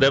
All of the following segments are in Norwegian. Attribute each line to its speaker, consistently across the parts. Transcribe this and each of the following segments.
Speaker 1: det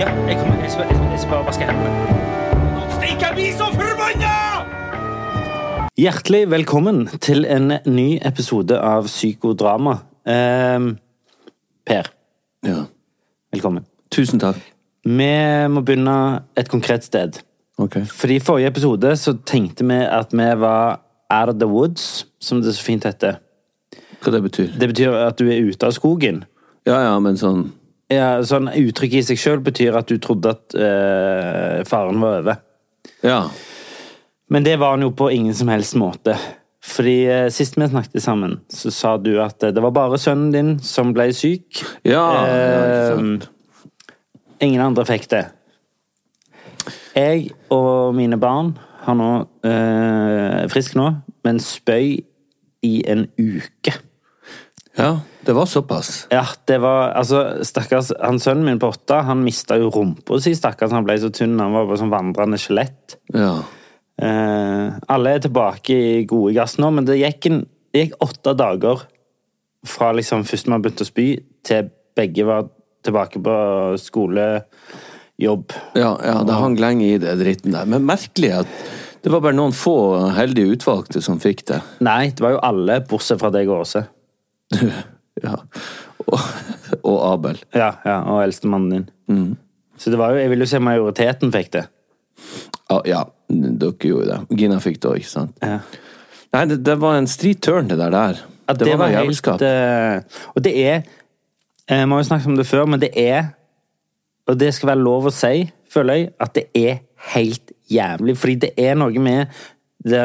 Speaker 2: Ja, jeg kommer, jeg skal, jeg skal- jeg skal bare vaske hendene.
Speaker 1: Stikk, jeg blir så forbanna!
Speaker 2: Hjertelig velkommen til en ny episode av Psykodrama. Ehm, per,
Speaker 3: Ja.
Speaker 2: velkommen.
Speaker 3: Tusen takk.
Speaker 2: Vi må begynne et konkret sted.
Speaker 3: Ok.
Speaker 2: Fordi I forrige episode så tenkte vi at vi var out of the woods, som det så fint heter.
Speaker 3: Hva det betyr?
Speaker 2: Det betyr at du er ute av skogen.
Speaker 3: Ja, ja, men sånn
Speaker 2: Ja, sånn Uttrykket i seg sjøl betyr at du trodde at eh, faren var over.
Speaker 3: Ja.
Speaker 2: Men det var han jo på ingen som helst måte. Fordi eh, Sist vi snakket sammen, så sa du at eh, det var bare sønnen din som ble syk.
Speaker 3: Ah, Ja, ja, ikke
Speaker 2: Eh, ingen andre fikk det. Jeg og mine barn har nå eh, frisk nå, men spøy i en uke.
Speaker 3: ja. Det var såpass.
Speaker 2: Ja, det var Altså, stakkars han sønnen min på åtte, han mista jo rumpa si, stakkars. Han ble så tynn, han var bare sånn vandrende skjelett.
Speaker 3: Ja.
Speaker 2: Eh, alle er tilbake i gode gass nå, men det gikk, en, det gikk åtte dager fra liksom først man begynte å spy, til begge var tilbake på skole, jobb.
Speaker 3: Ja, ja, det hang lenge i det dritten der. Men merkelig at det var bare noen få heldige utvalgte som fikk det.
Speaker 2: Nei, det var jo alle, bortsett fra deg og Åse.
Speaker 3: Ja. Og, og Abel.
Speaker 2: Ja, ja, og eldstemannen din. Så det var jo, jeg vil jo se majoriteten fikk det.
Speaker 3: Ja, Ah, ja, dere gjorde det. Gina fikk det òg, ikke sant?
Speaker 2: Ja.
Speaker 3: Nei, det, det var en stri turn, det der. der.
Speaker 2: At det, var,
Speaker 3: noe
Speaker 2: helt eh, Og det er eh, Vi har jo snakket om det før, men det er Og det skal være lov å si, føler jeg, at det er helt jævlig. Fordi det er noe med det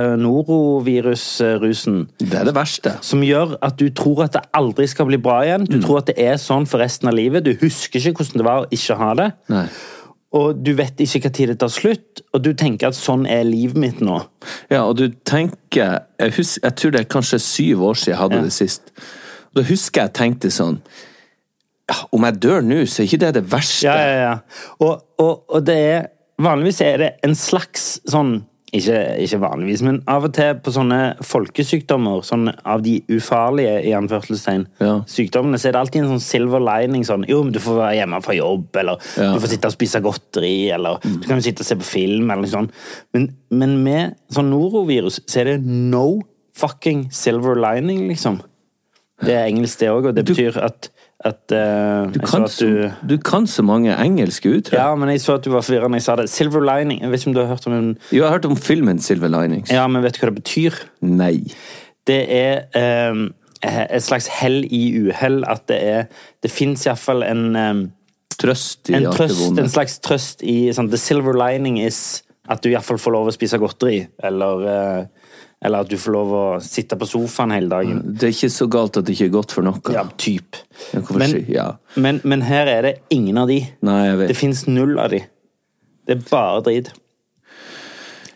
Speaker 2: norovirusrusen
Speaker 3: Det er det verste.
Speaker 2: som gjør at du tror at det aldri skal bli bra igjen. Du tror at det er sånn for resten av livet. Du husker ikke hvordan det var å ikke ha det.
Speaker 3: Nei.
Speaker 2: Og du vet ikke hva tid det tar slutt, og du tenker at sånn er livet mitt nå.
Speaker 3: Ja, og du tenker Jeg, hus- jeg tror det er kanskje syv år siden jeg hadde
Speaker 2: Ja.
Speaker 3: det sist. Da husker jeg tenkte sånn ja, Om jeg dør nå, så er ikke det det verste.
Speaker 2: Ja, ja, ja. Og, og, og det er Vanligvis er det en slags sånn ikke, ikke vanligvis, men av og til på sånne folkesykdommer, sånn av de ufarlige i anførselstegn,
Speaker 3: Ja.
Speaker 2: sykdommene, så er det alltid en sånn silver lining sånn Jo, men du får være hjemme fra jobb, eller
Speaker 3: Ja. Mm.
Speaker 2: du får sitte og spise godteri, eller du kan jo sitte og se på film, eller noe sånt. Men, men med sånn norovirus så er det no fucking silver lining, liksom. Det er engelsk, det òg, og det betyr at, at eh,
Speaker 3: Du
Speaker 2: jeg så
Speaker 3: kan,
Speaker 2: at
Speaker 3: så, du... kan så mange engelske uttrykk.
Speaker 2: ja, men jeg så at du var forvirra når jeg sa det. Silver lining. Jeg vet ikke om du har hørt om den?
Speaker 3: Jo, jeg har hørt om filmen Silver Linings.
Speaker 2: Ja, men vet du hva det betyr?
Speaker 3: Nei.
Speaker 2: Det er eh, et slags hell i uhell. At det er Det fins iallfall en, eh,
Speaker 3: Trøst i
Speaker 2: en
Speaker 3: alt det
Speaker 2: trøst,
Speaker 3: vonde.
Speaker 2: en slags trøst i sånn The silver lining is at du iallfall får lov å spise godteri. Eller, eh, eller at du får lov å sitte på sofaen hele dagen.
Speaker 3: Det er ikke så galt at det ikke er godt for noe.
Speaker 2: Ja, typ.
Speaker 3: Ja, hvorfor
Speaker 2: Men,
Speaker 3: si- ja.
Speaker 2: men, men her er det ingen av de.
Speaker 3: Nei, jeg vet.
Speaker 2: Det fins null av de. Det er bare drit.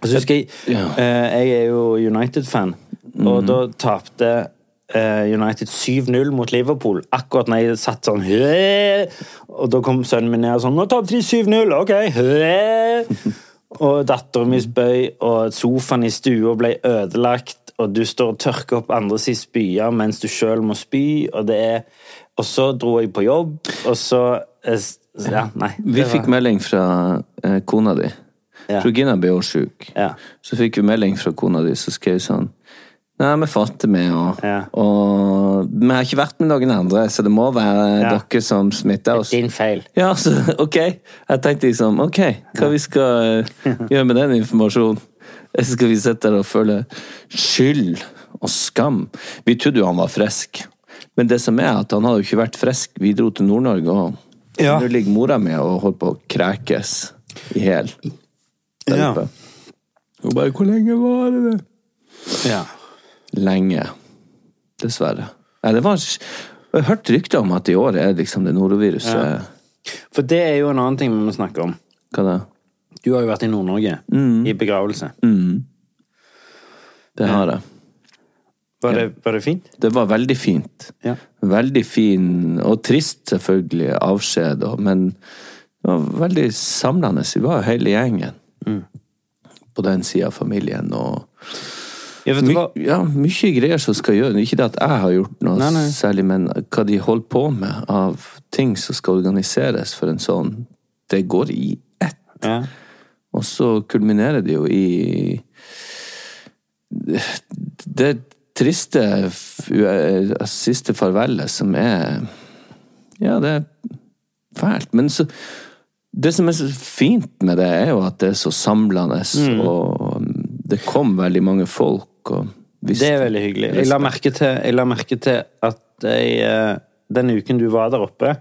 Speaker 2: Og så husker jeg
Speaker 3: Ja.
Speaker 2: eh, Jeg er jo United-fan, og da tapte eh, United 7-0 mot Liverpool akkurat når jeg satt sånn «Hø!» Og da kom sønnen min ned og sånn 'Nå tapte de 7-0, ok!' Hø! Og datteren min spøy, og sofaen i stua ble ødelagt, og du står og tørker opp andres i spyer mens du sjøl må spy, og det er Og så dro jeg på jobb, og så eh, s- Ja, nei.
Speaker 3: Vi fikk melding fra eh, kona di.
Speaker 2: Ja.
Speaker 3: For Gina ble også sjuk.
Speaker 2: Ja.
Speaker 3: Så fikk vi melding fra kona di, så skrev sånn Nei, vi fatter meg, og,
Speaker 2: Ja.
Speaker 3: og Vi har ikke vært med noen andre, så det må være
Speaker 2: Ja.
Speaker 3: dere som smitter oss.
Speaker 2: Din feil.
Speaker 3: Ja, så ok. Jeg tenkte liksom ok, hva vi skal eh, gjøre med den informasjonen? Skal vi sitte der og føle skyld og skam? Vi trodde jo han var frisk, men det som er at han hadde jo ikke vært frisk. Vi dro til Nord-Norge, og
Speaker 2: Ja.
Speaker 3: nå ligger mora mi og holder på å krekes i hæl der
Speaker 2: Ja.
Speaker 3: oppe. Hun bare 'Hvor lenge varer det?'
Speaker 2: Ja.
Speaker 3: Lenge. Dessverre. Nei, det var Jeg har hørt rykter om at i år er liksom det noroviruset
Speaker 2: For det er jo en annen ting vi må snakke om.
Speaker 3: Hva da?
Speaker 2: Du har jo vært i Nord-Norge i begravelse.
Speaker 3: Mm. Det har jeg.
Speaker 2: Var, det, var det fint?
Speaker 3: Det var veldig fint.
Speaker 2: Ja.
Speaker 3: Veldig fin, og trist selvfølgelig, avskjed, og- men det var veldig samlende. Vi var jo hele gjengen
Speaker 2: Mm.
Speaker 3: på den sida av familien. og
Speaker 2: Ja, vet
Speaker 3: my,
Speaker 2: du hva?
Speaker 3: ja, Mye greier som skal gjøres. Ikke det at jeg har gjort noe
Speaker 2: Nei, nei.
Speaker 3: særlig, men hva de holder på med av ting som skal organiseres for en sånn Det går i ett.
Speaker 2: Ja.
Speaker 3: Og så kulminerer det jo i det triste f- u- siste farvelet, som er Ja, det er fælt. Men så Det som er så fint med det, er jo at det er så samlende,
Speaker 2: Mm.
Speaker 3: og um, det kom veldig mange folk. og hvis-
Speaker 2: Det er veldig hyggelig. Jeg la merke til, jeg la merke til at jeg, eh, den uken du var der oppe,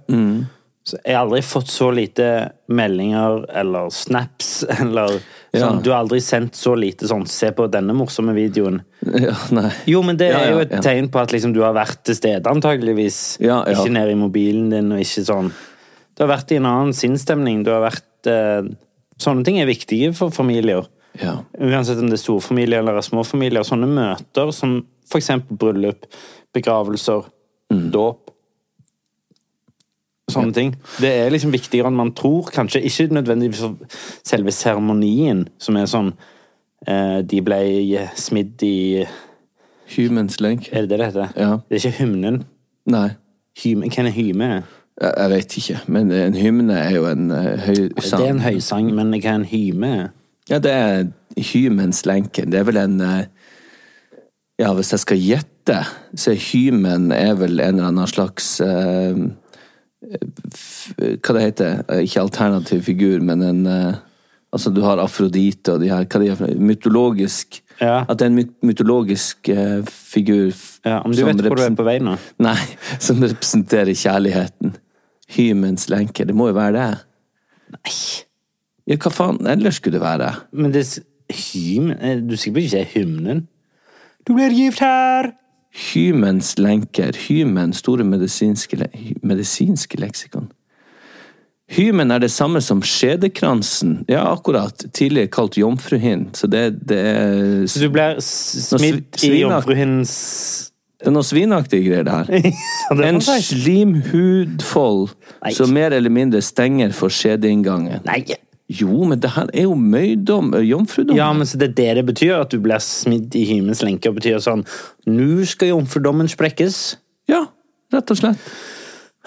Speaker 2: så jeg har aldri fått så lite meldinger eller snaps eller
Speaker 3: Ja.
Speaker 2: sånn, Du har aldri sendt så lite sånn 'se på denne morsomme videoen'.
Speaker 3: Ja, nei.
Speaker 2: Jo, men det
Speaker 3: Ja,
Speaker 2: er
Speaker 3: ja,
Speaker 2: jo et
Speaker 3: ja.
Speaker 2: tegn på at liksom, du har vært til stede, antageligvis.
Speaker 3: Ja, ja.
Speaker 2: Ikke nede i mobilen din, og ikke sånn Du har vært i en annen sinnsstemning. Du har vært eh, Sånne ting er viktige for familier.
Speaker 3: Ja.
Speaker 2: Uansett om det er storfamilie eller små familier. Sånne møter som for eksempel bryllup, begravelser,
Speaker 3: Mm.
Speaker 2: dåp Sånne ting. Det er liksom viktigere enn man tror. Kanskje ikke nødvendigvis for selve seremonien, som er sånn eh, De ble smidd i
Speaker 3: Humans link.
Speaker 2: er det det det heter?
Speaker 3: Ja.
Speaker 2: Det er ikke hymnen.
Speaker 3: Nei.
Speaker 2: Hyme, hvem er hyme?
Speaker 3: Jeg, jeg vet ikke, men en hymne er jo en eh, høysang.
Speaker 2: Det er en høysang, men hva er en hyme?
Speaker 3: Ja, det er hymens lenke. Det er vel en eh, Ja, hvis jeg skal gjette, så er hymen er vel en eller annen slags eh, f, Hva det heter det? Ikke alternativ figur, men en eh, Altså, du har Afrodite og de her hva de er for noe? Mytologisk
Speaker 2: Ja.
Speaker 3: At det er en myt- mytologisk eh, figur f-
Speaker 2: Ja, om du vet hvor du er
Speaker 3: represent-
Speaker 2: på vei nå.
Speaker 3: Nei, som representerer kjærligheten. Hymens lenke. Det må jo være det. Nei. Ja, hva faen ellers skulle det være?
Speaker 2: Men det er s- hyme eh, Du er sikker på ikke det er hymnen? Du blir gift her!
Speaker 3: Hymens lenker. Hymen, store medisinske, le hy- medisinske leksikon. Hymen er det samme som skjedekransen. Ja, akkurat. Tidligere kalt jomfruhind. Så det, det er
Speaker 2: Så du blir s- smidd i
Speaker 3: svina-
Speaker 2: jomfruhinnens
Speaker 3: Det er noe svinaktige greier, det her.
Speaker 2: Ja, det
Speaker 3: En
Speaker 2: må jeg si.
Speaker 3: slimhudfold
Speaker 2: Nei.
Speaker 3: som mer eller mindre stenger for skjedeinngangen.
Speaker 2: Nei!
Speaker 3: Jo, men det her er jo møydom, eh, jomfrudom.
Speaker 2: Ja, men så det er det det betyr, at du blir smidd i hymens lenker, betyr sånn Nå skal jomfrudommen sprekkes.
Speaker 3: Ja, rett og slett.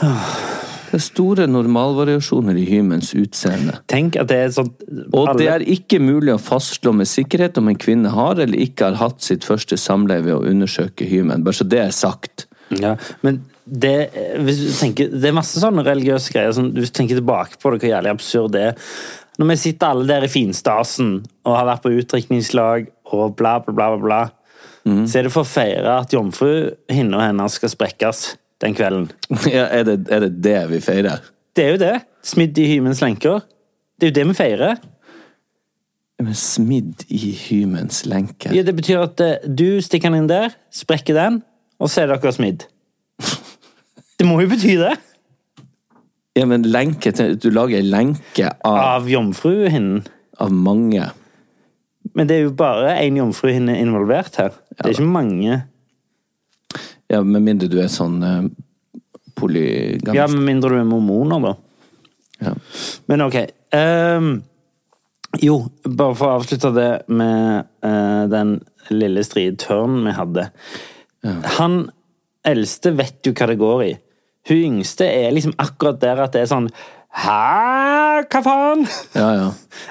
Speaker 2: Ah.
Speaker 3: Det er store normalvariasjoner i hymens utseende.
Speaker 2: Tenk at det er sånn sånt
Speaker 3: Og det
Speaker 2: alle-
Speaker 3: er ikke mulig å fastslå med sikkerhet om en kvinne har eller ikke har hatt sitt første samleie ved å undersøke hymen. Bare så det er sagt.
Speaker 2: Ja, men det, eh, hvis du tenker, det er masse sånne religiøse greier. Sånn, hvis du tenker tilbake på det, hvor jævlig absurd det er. Når vi sitter alle der i finstasen og har vært på utdrikningslag og bla, bla, bla, bla, bla så er det for å feire at jomfruhinna hennes skal sprekkes den kvelden.
Speaker 3: Ja, er, det, er det det vi feirer?
Speaker 2: Det er jo det. Smidd i hymens lenker. Det er jo det vi feirer.
Speaker 3: Men smidd i hymens lenke.
Speaker 2: Ja, det betyr at eh, du stikker den inn der, sprekker den, og så er dere smidd. Det må jo bety det.
Speaker 3: Ja, men lenke, til- du lager en lenke av,
Speaker 2: Av jomfruhinnen.
Speaker 3: av mange.
Speaker 2: Men det er jo bare én jomfruhinne involvert her. Det er ikke mange.
Speaker 3: Ja, med mindre du er sånn uh, polygamisk.
Speaker 2: Ja, Med mindre du er mormoner, da.
Speaker 3: Ja.
Speaker 2: Men ok. ehm, jo, bare for å avslutte det med eh, den lille stride tørnen vi hadde. Han eldste vet jo hva det går i. Hun yngste er liksom akkurat der at det er sånn Hæ, hva faen?
Speaker 3: ja, ja.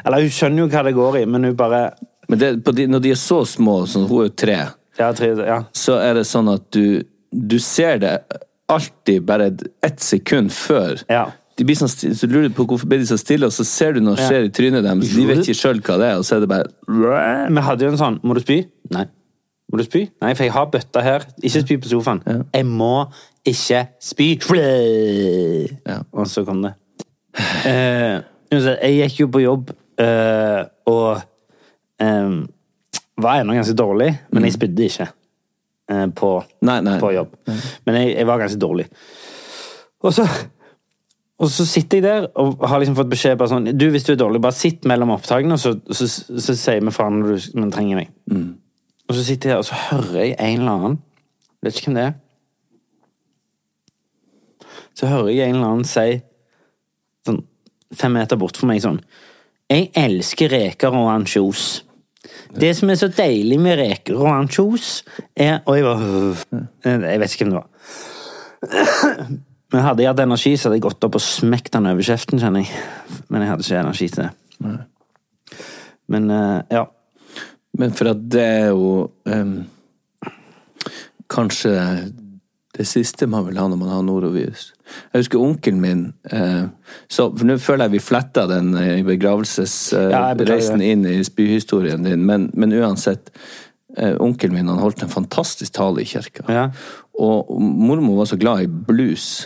Speaker 2: Eller hun skjønner jo hva det går i, men hun bare
Speaker 3: Men det, på de, når de er så små, sånn, hun er jo tre,
Speaker 2: Ja, tre, ja.
Speaker 3: så er det sånn at du, du ser det alltid bare ett sekund før.
Speaker 2: Ja.
Speaker 3: De blir sånn, sti- så lurer du på hvorfor blir de så stille, og så ser du noe
Speaker 2: Ja.
Speaker 3: skjer i trynet deres. De vet ikke sjøl hva det er, og så er det bare
Speaker 2: Vi hadde jo en sånn Må du spy? Nei. Må du spy? Nei, for jeg har bøtta her. Ikke spy på sofaen. Jeg må ikke spy.
Speaker 3: Ja.
Speaker 2: Og så kom det. Eh, uansett, jeg gikk jo på jobb, eh, og eh, var ennå ganske dårlig, men jeg spydde ikke eh, på,
Speaker 3: Nei, nei.
Speaker 2: på jobb. Men jeg, jeg var ganske dårlig. Og så Og så sitter jeg der og har liksom fått beskjed bare sånn Du, hvis du er dårlig, bare sitt mellom opptakene, og så, så, så, sier vi fra når du når du trenger meg. Og så sitter jeg der, og så hører jeg en eller annen Vet ikke hvem det er. Så hører jeg en eller annen si sånn fem meter bort for meg sånn Jeg elsker reker og ansjos. Det som er så deilig med reker og ansjos, er Og jeg bare «Øh». Jeg vet ikke hvem det var. Men hadde jeg hatt energi, så hadde jeg gått opp og smekt den over kjeften, kjenner jeg. Men jeg hadde ikke energi til det. Men eh, ja.
Speaker 3: Men for at det er jo em, kanskje det siste man vil ha når man har norovirus. Jeg husker onkelen min eh, så, For nå føler jeg vi fletta den eh,
Speaker 2: Ja, jeg beklager.
Speaker 3: begravelsesreisen inn i byhistorien din, men, men uansett eh, Onkelen min han holdt en fantastisk tale i kirka.
Speaker 2: Ja.
Speaker 3: Og mormor var så glad i blues.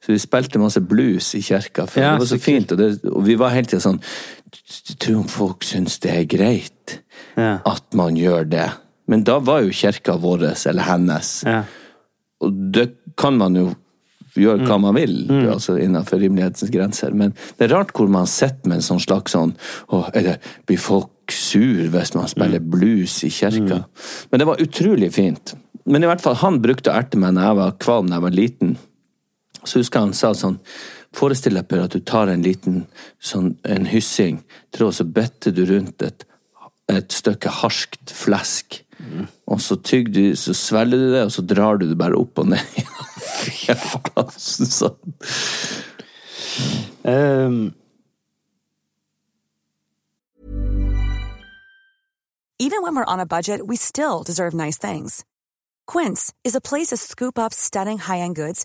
Speaker 3: Så vi spilte masse blues i kirka. For
Speaker 2: Ja,
Speaker 3: det var så,
Speaker 2: så kult.
Speaker 3: fint. Og, det, og vi var hele tida sånn Tror om folk syns det er greit
Speaker 2: Ja.
Speaker 3: at man gjør det. Men da var jo kirka vår, eller hennes.
Speaker 2: ja.
Speaker 3: Og det kan man jo gjøre
Speaker 2: Mm.
Speaker 3: hva man vil, altså innenfor rimelighetens grenser. Men det er rart hvor man sitter med en sånn slags sånn Å, eller blir folk sur hvis man spiller
Speaker 2: Mm.
Speaker 3: blues i kirka? Men det var utrolig fint. Men i hvert fall, han brukte å erte meg når jeg var kvalm da jeg var liten. Så husker jeg han sa sånn Forestill deg Per, at du tar en liten sånn, en hyssing, tråd, så bøtter du rundt et, et stykke harskt flesk. Og så tygg du, så svelger du det, og så drar du det bare opp og ned. Fy faen, sånn.
Speaker 2: Ehm,
Speaker 4: Even when we're on a budget, we still deserve nice things. Quince is a place to scoop up stunning high end goods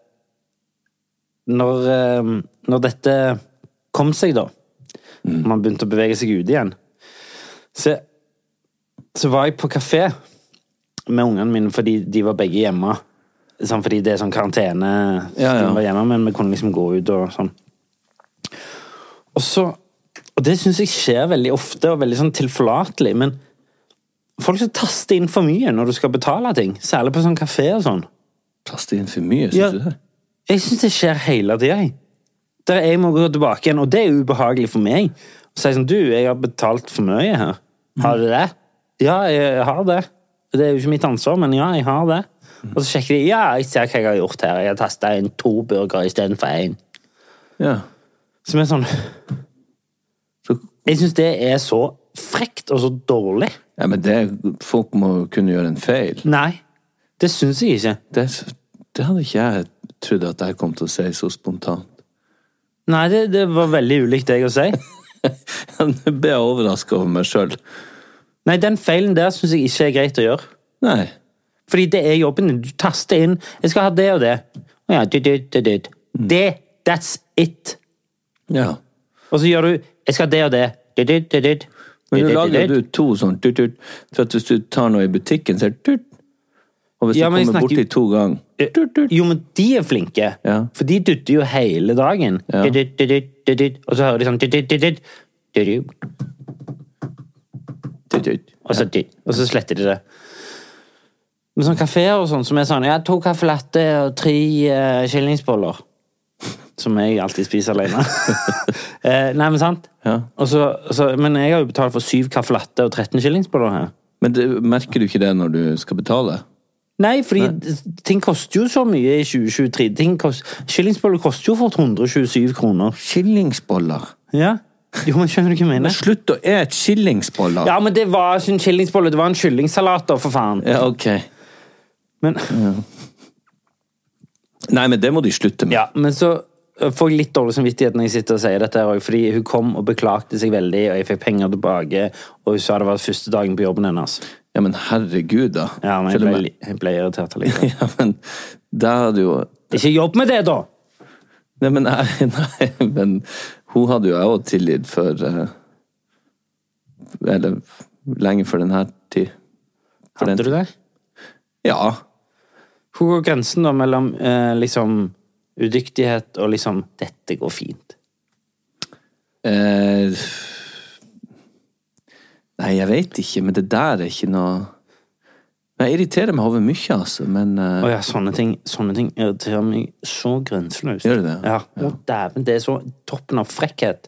Speaker 2: når, eh, når dette kom seg, da,
Speaker 3: Mm.
Speaker 2: man begynte å bevege seg ute igjen, så, så var jeg på kafé med ungene mine fordi de var begge hjemme. Sånn, fordi det er sånn karantene, så
Speaker 3: Ja, ja.
Speaker 2: de var hjemme, men vi kunne liksom gå ut og sånn. Og så Og det syns jeg skjer veldig ofte, og veldig sånn tilforlatelig, men folk som taster inn for mye når du skal betale ting, særlig på sånn kafé og sånn.
Speaker 3: Taste inn for mye, syns
Speaker 2: Ja.
Speaker 3: du det?
Speaker 2: Jeg syns det skjer hele tida. jeg. Der jeg må gå tilbake igjen, og det er ubehagelig for meg. Å si sånn Du, jeg har betalt for mye her. Har du det? Ja, jeg har det. Det er jo ikke mitt ansvar, men ja, jeg har det. Og så sjekker de. Ja, jeg ser hva jeg har gjort her. Jeg har tasta inn to burgere istedenfor én.
Speaker 3: Ja.
Speaker 2: Som er sånn
Speaker 3: Så,
Speaker 2: Jeg syns det er så frekt og så dårlig.
Speaker 3: ja, men det, folk må jo kunne gjøre en feil.
Speaker 2: Nei, det syns jeg ikke.
Speaker 3: Det, det hadde ikke jeg trodd at jeg kom til å si så spontant.
Speaker 2: Nei, det, det var veldig ulikt deg å si.
Speaker 3: Nå ble jeg overraska over meg sjøl.
Speaker 2: Nei, den feilen der syns jeg ikke er greit å gjøre.
Speaker 3: Nei.
Speaker 2: Fordi det er jobben din. Du taster inn 'Jeg skal ha det og det'. Å ja, dytt, dytt, dytt, dytt.
Speaker 3: Mm.
Speaker 2: Det. That's it.
Speaker 3: Ja.
Speaker 2: Og så gjør du 'Jeg skal ha det og det'. Dytt, dytt, dytt, dytt.
Speaker 3: Men
Speaker 2: Dytt,
Speaker 3: nå
Speaker 2: dytt,
Speaker 3: lager
Speaker 2: dytt,
Speaker 3: du
Speaker 2: dytt.
Speaker 3: to sånn tut, tut, for at hvis du tar noe i butikken, så er det tut. Og hvis
Speaker 2: Ja,
Speaker 3: du
Speaker 2: men jeg
Speaker 3: kommer
Speaker 2: snakker- Eh,
Speaker 3: borti to ganger tut, tut.
Speaker 2: Jo, men de er flinke.
Speaker 3: Ja.
Speaker 2: For de dytter jo hele dagen.
Speaker 3: Ja.
Speaker 2: Dytt, dytt, dytt, dytt, dytt, dytt. Og så hører de sånn dytt, dytt, dytt, dytt. Dytt, dytt.
Speaker 3: tut, tut.
Speaker 2: Og så, dytt. og så sletter de det. Men sånn kafeer og sånn som er sånn Ja, to caffè latte og tre uh, skillingsboller. eh, Som jeg alltid spiser alene. eh, nei, men sant?
Speaker 3: Ja.
Speaker 2: Og så- og så- men jeg har jo betalt for syv caffè latte og 13 skillingsboller her.
Speaker 3: Men det, merker du ikke det når du skal betale?
Speaker 2: Nei, fordi d- ting koster jo så mye i 2023. Ting kost, skillingsboller koster jo fort 127 kroner.
Speaker 3: Skillingsboller.
Speaker 2: Ja. Jo, men skjønner du hva jeg
Speaker 3: Men
Speaker 2: mener?
Speaker 3: slutt å ete skillingsboller!
Speaker 2: Ja, men det var ikke en skillingsbolle, det var en kyllingsalat, da, for faen.
Speaker 3: ja, ok.
Speaker 2: Men,
Speaker 3: Nei, men det må de slutte med.
Speaker 2: ja, men så eh, får jeg litt dårlig samvittighet når jeg sitter og sier dette, her også, fordi hun kom og beklagte seg veldig, og jeg fikk penger tilbake, og hun sa det var første dagen på jobben hennes.
Speaker 3: Ja, men herregud, da.
Speaker 2: Ja, men jeg
Speaker 3: Til og
Speaker 2: ble,
Speaker 3: med-
Speaker 2: li- jeg ble irritert allikevel.
Speaker 3: Ja, men det hadde jo
Speaker 2: Ikke jobb med det, da!
Speaker 3: Nei, men, jeg- nei, men hun hadde jo jeg òg tilgitt for eh, Eller lenge før denne tid. For den-
Speaker 2: Hadde du det?
Speaker 3: Ja.
Speaker 2: Hvor går grensen da mellom eh, liksom udyktighet og liksom 'dette går fint'?
Speaker 3: Eh, nei, jeg veit ikke, men det der er ikke noe Nei, Jeg irriterer meg over mye, altså, men eh,
Speaker 2: Å ja, sånne ting, sånne ting irriterer meg så grenseløst.
Speaker 3: Gjør det det?
Speaker 2: Ja. Å, dæven, det er så toppen av frekkhet.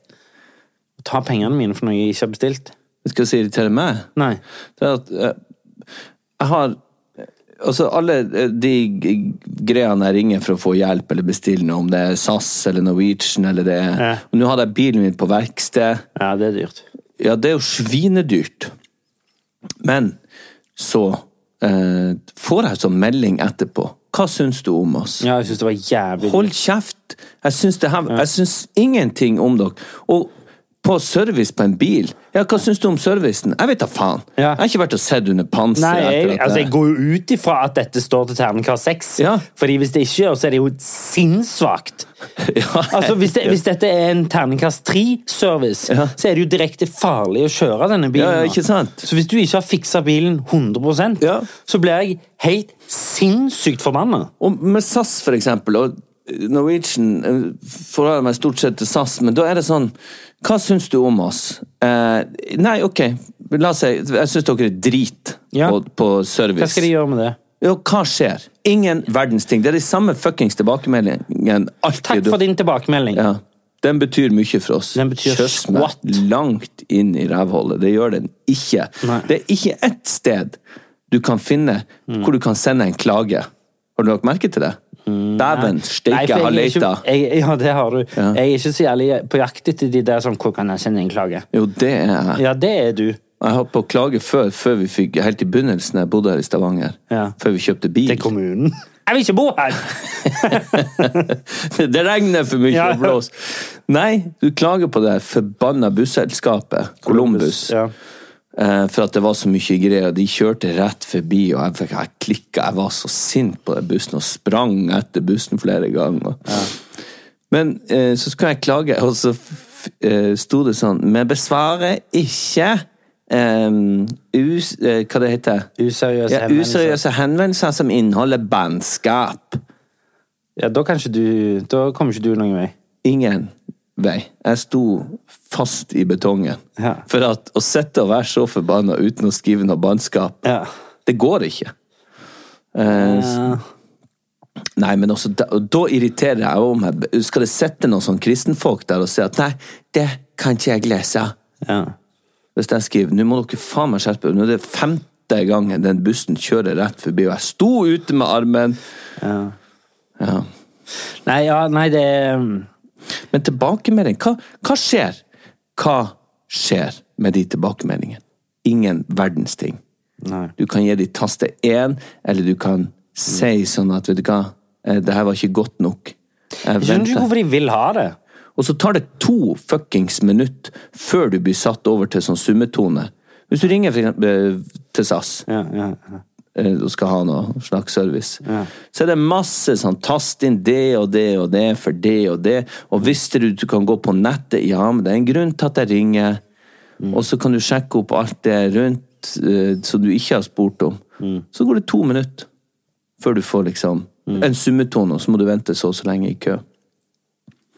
Speaker 2: Å ta pengene mine for noe jeg ikke har bestilt.
Speaker 3: Skal jeg si irriterer meg?
Speaker 2: Nei.
Speaker 3: Det er at eh, jeg har Altså, alle eh, de g- greiene jeg ringer for å få hjelp eller bestille noe, om det er SAS eller Norwegian eller det er
Speaker 2: Ja.
Speaker 3: Og Nå hadde jeg bilen min på verksted.
Speaker 2: Ja, det er dyrt.
Speaker 3: Ja, det er jo svinedyrt. Men så eh, får jeg sånn melding etterpå. Hva syns du om oss?
Speaker 2: Ja, jeg syns det var jævlig dyrt.
Speaker 3: Hold kjeft! Jeg syns, det her, jeg syns ingenting om dere. Og på service på en bil Ja, hva syns du om servicen? Jeg vet da faen.
Speaker 2: Ja.
Speaker 3: Jeg har ikke vært og sett under panseret.
Speaker 2: Nei, jeg,
Speaker 3: etter at
Speaker 2: altså, jeg går jo ut ifra at dette står til terningkast seks.
Speaker 3: Ja.
Speaker 2: Fordi hvis det ikke gjør, så er det jo sinnssvakt.
Speaker 3: Ja.
Speaker 2: Altså, hvis, det, hvis dette er en terningkast tre-service,
Speaker 3: Ja.
Speaker 2: så er det jo direkte farlig å kjøre denne bilen.
Speaker 3: Ja, ja,
Speaker 2: nå.
Speaker 3: ikke sant?
Speaker 2: Så hvis du ikke har fiksa bilen 100
Speaker 3: Ja.
Speaker 2: så blir jeg helt sinnssykt forbanna.
Speaker 3: Og med SAS, for eksempel, og Norwegian eh, forholder jeg meg stort sett til SAS, men da er det sånn Hva syns du om oss? Eh, nei, OK, la oss si Jeg syns dere er drit
Speaker 2: Ja.
Speaker 3: på, på service.
Speaker 2: Hva skal de gjøre med det?
Speaker 3: Jo, hva skjer? Ingen verdens ting. Det er de samme fuckings tilbakemeldingene alltid.
Speaker 2: Takk for din tilbakemelding.
Speaker 3: Ja. Den betyr mye for oss.
Speaker 2: Den betyr
Speaker 3: Kjøss meg
Speaker 2: squat.
Speaker 3: langt inn i rævhullet. Det gjør den ikke.
Speaker 2: Nei.
Speaker 3: Det er ikke ett sted du kan finne hvor du kan sende en klage. Har du lagt merke til det? Dæven
Speaker 2: Mm, Nei,
Speaker 3: steike,
Speaker 2: for
Speaker 3: jeg har
Speaker 2: jeg er ikke-
Speaker 3: leita.
Speaker 2: jeg- Ja, det har du.
Speaker 3: Ja.
Speaker 2: Jeg er ikke så jævlig på jakt etter de der som Hvor kan jeg sende en klage?
Speaker 3: Jo, det er jeg.
Speaker 2: Ja, det er du.
Speaker 3: Jeg holdt på å klage før, før vi fikk Helt i begynnelsen, jeg bodde her i Stavanger.
Speaker 2: Ja.
Speaker 3: Før vi kjøpte bil.
Speaker 2: Til kommunen. Jeg vil ikke bo her!
Speaker 3: det regner for mye
Speaker 2: Ja.
Speaker 3: og blåser. Nei, du klager på det forbanna busselskapet, Columbus,
Speaker 2: Ja.
Speaker 3: eh, for at det var så mye greier. De kjørte rett forbi, og jeg, fikk- jeg klikka. Jeg var så sint på den bussen og sprang etter bussen flere ganger. Men eh, så skulle jeg klage, og så f- eh, sto det sånn Vi besvarer ikke eh, us, eh, Hva det heter
Speaker 2: Useriøse
Speaker 3: ja,
Speaker 2: henvendelser.
Speaker 3: useriøse henvendelser som inneholder bannskap.
Speaker 2: Ja, da kan ikke du Da kommer ikke du noen vei.
Speaker 3: ingen vei. Jeg sto fast i betongen.
Speaker 2: Ja.
Speaker 3: For at å sitte og være så forbanna uten å skrive noe bannskap,
Speaker 2: Ja.
Speaker 3: det går ikke. Eh, s- Nei, men også da, og da irriterer jeg også meg. Skal det sitte noen sånn kristenfolk der og si at nei, det kan ikke jeg lese.
Speaker 2: ja.
Speaker 3: Hvis jeg skriver nå må dere faen meg skjerpe dere, nå er det femte gangen den bussen kjører rett forbi, og jeg sto ute med armen. ja.
Speaker 2: Nei, ja, nei, det er-
Speaker 3: Men tilbakemelding, hva, hva skjer? Hva skjer med de tilbakemeldingene? Ingen verdens ting.
Speaker 2: Nei.
Speaker 3: Du kan gi de taste én, eller du kan si sånn at vet du hva, eh, det her var ikke godt nok. Jeg
Speaker 2: Jeg skjønner ikke
Speaker 3: venter.
Speaker 2: hvorfor de vil ha det.
Speaker 3: Og så tar det to fuckings minutt før du blir satt over til sånn summetone. Hvis du ringer for eksempel, eh, til SAS
Speaker 2: Ja, ja, ja.
Speaker 3: eh, og skal ha noe slags service. Så er det masse sånn tast inn det og det og det for det og det. Og visste du du kan gå på nettet? Ja, men det er en grunn til at jeg ringer. Og så kan du sjekke opp alt det rundt eh, som du ikke har spurt om. Så går det to minutter før du får liksom
Speaker 2: Mm.
Speaker 3: en summetone, og så må du vente så og så lenge i kø.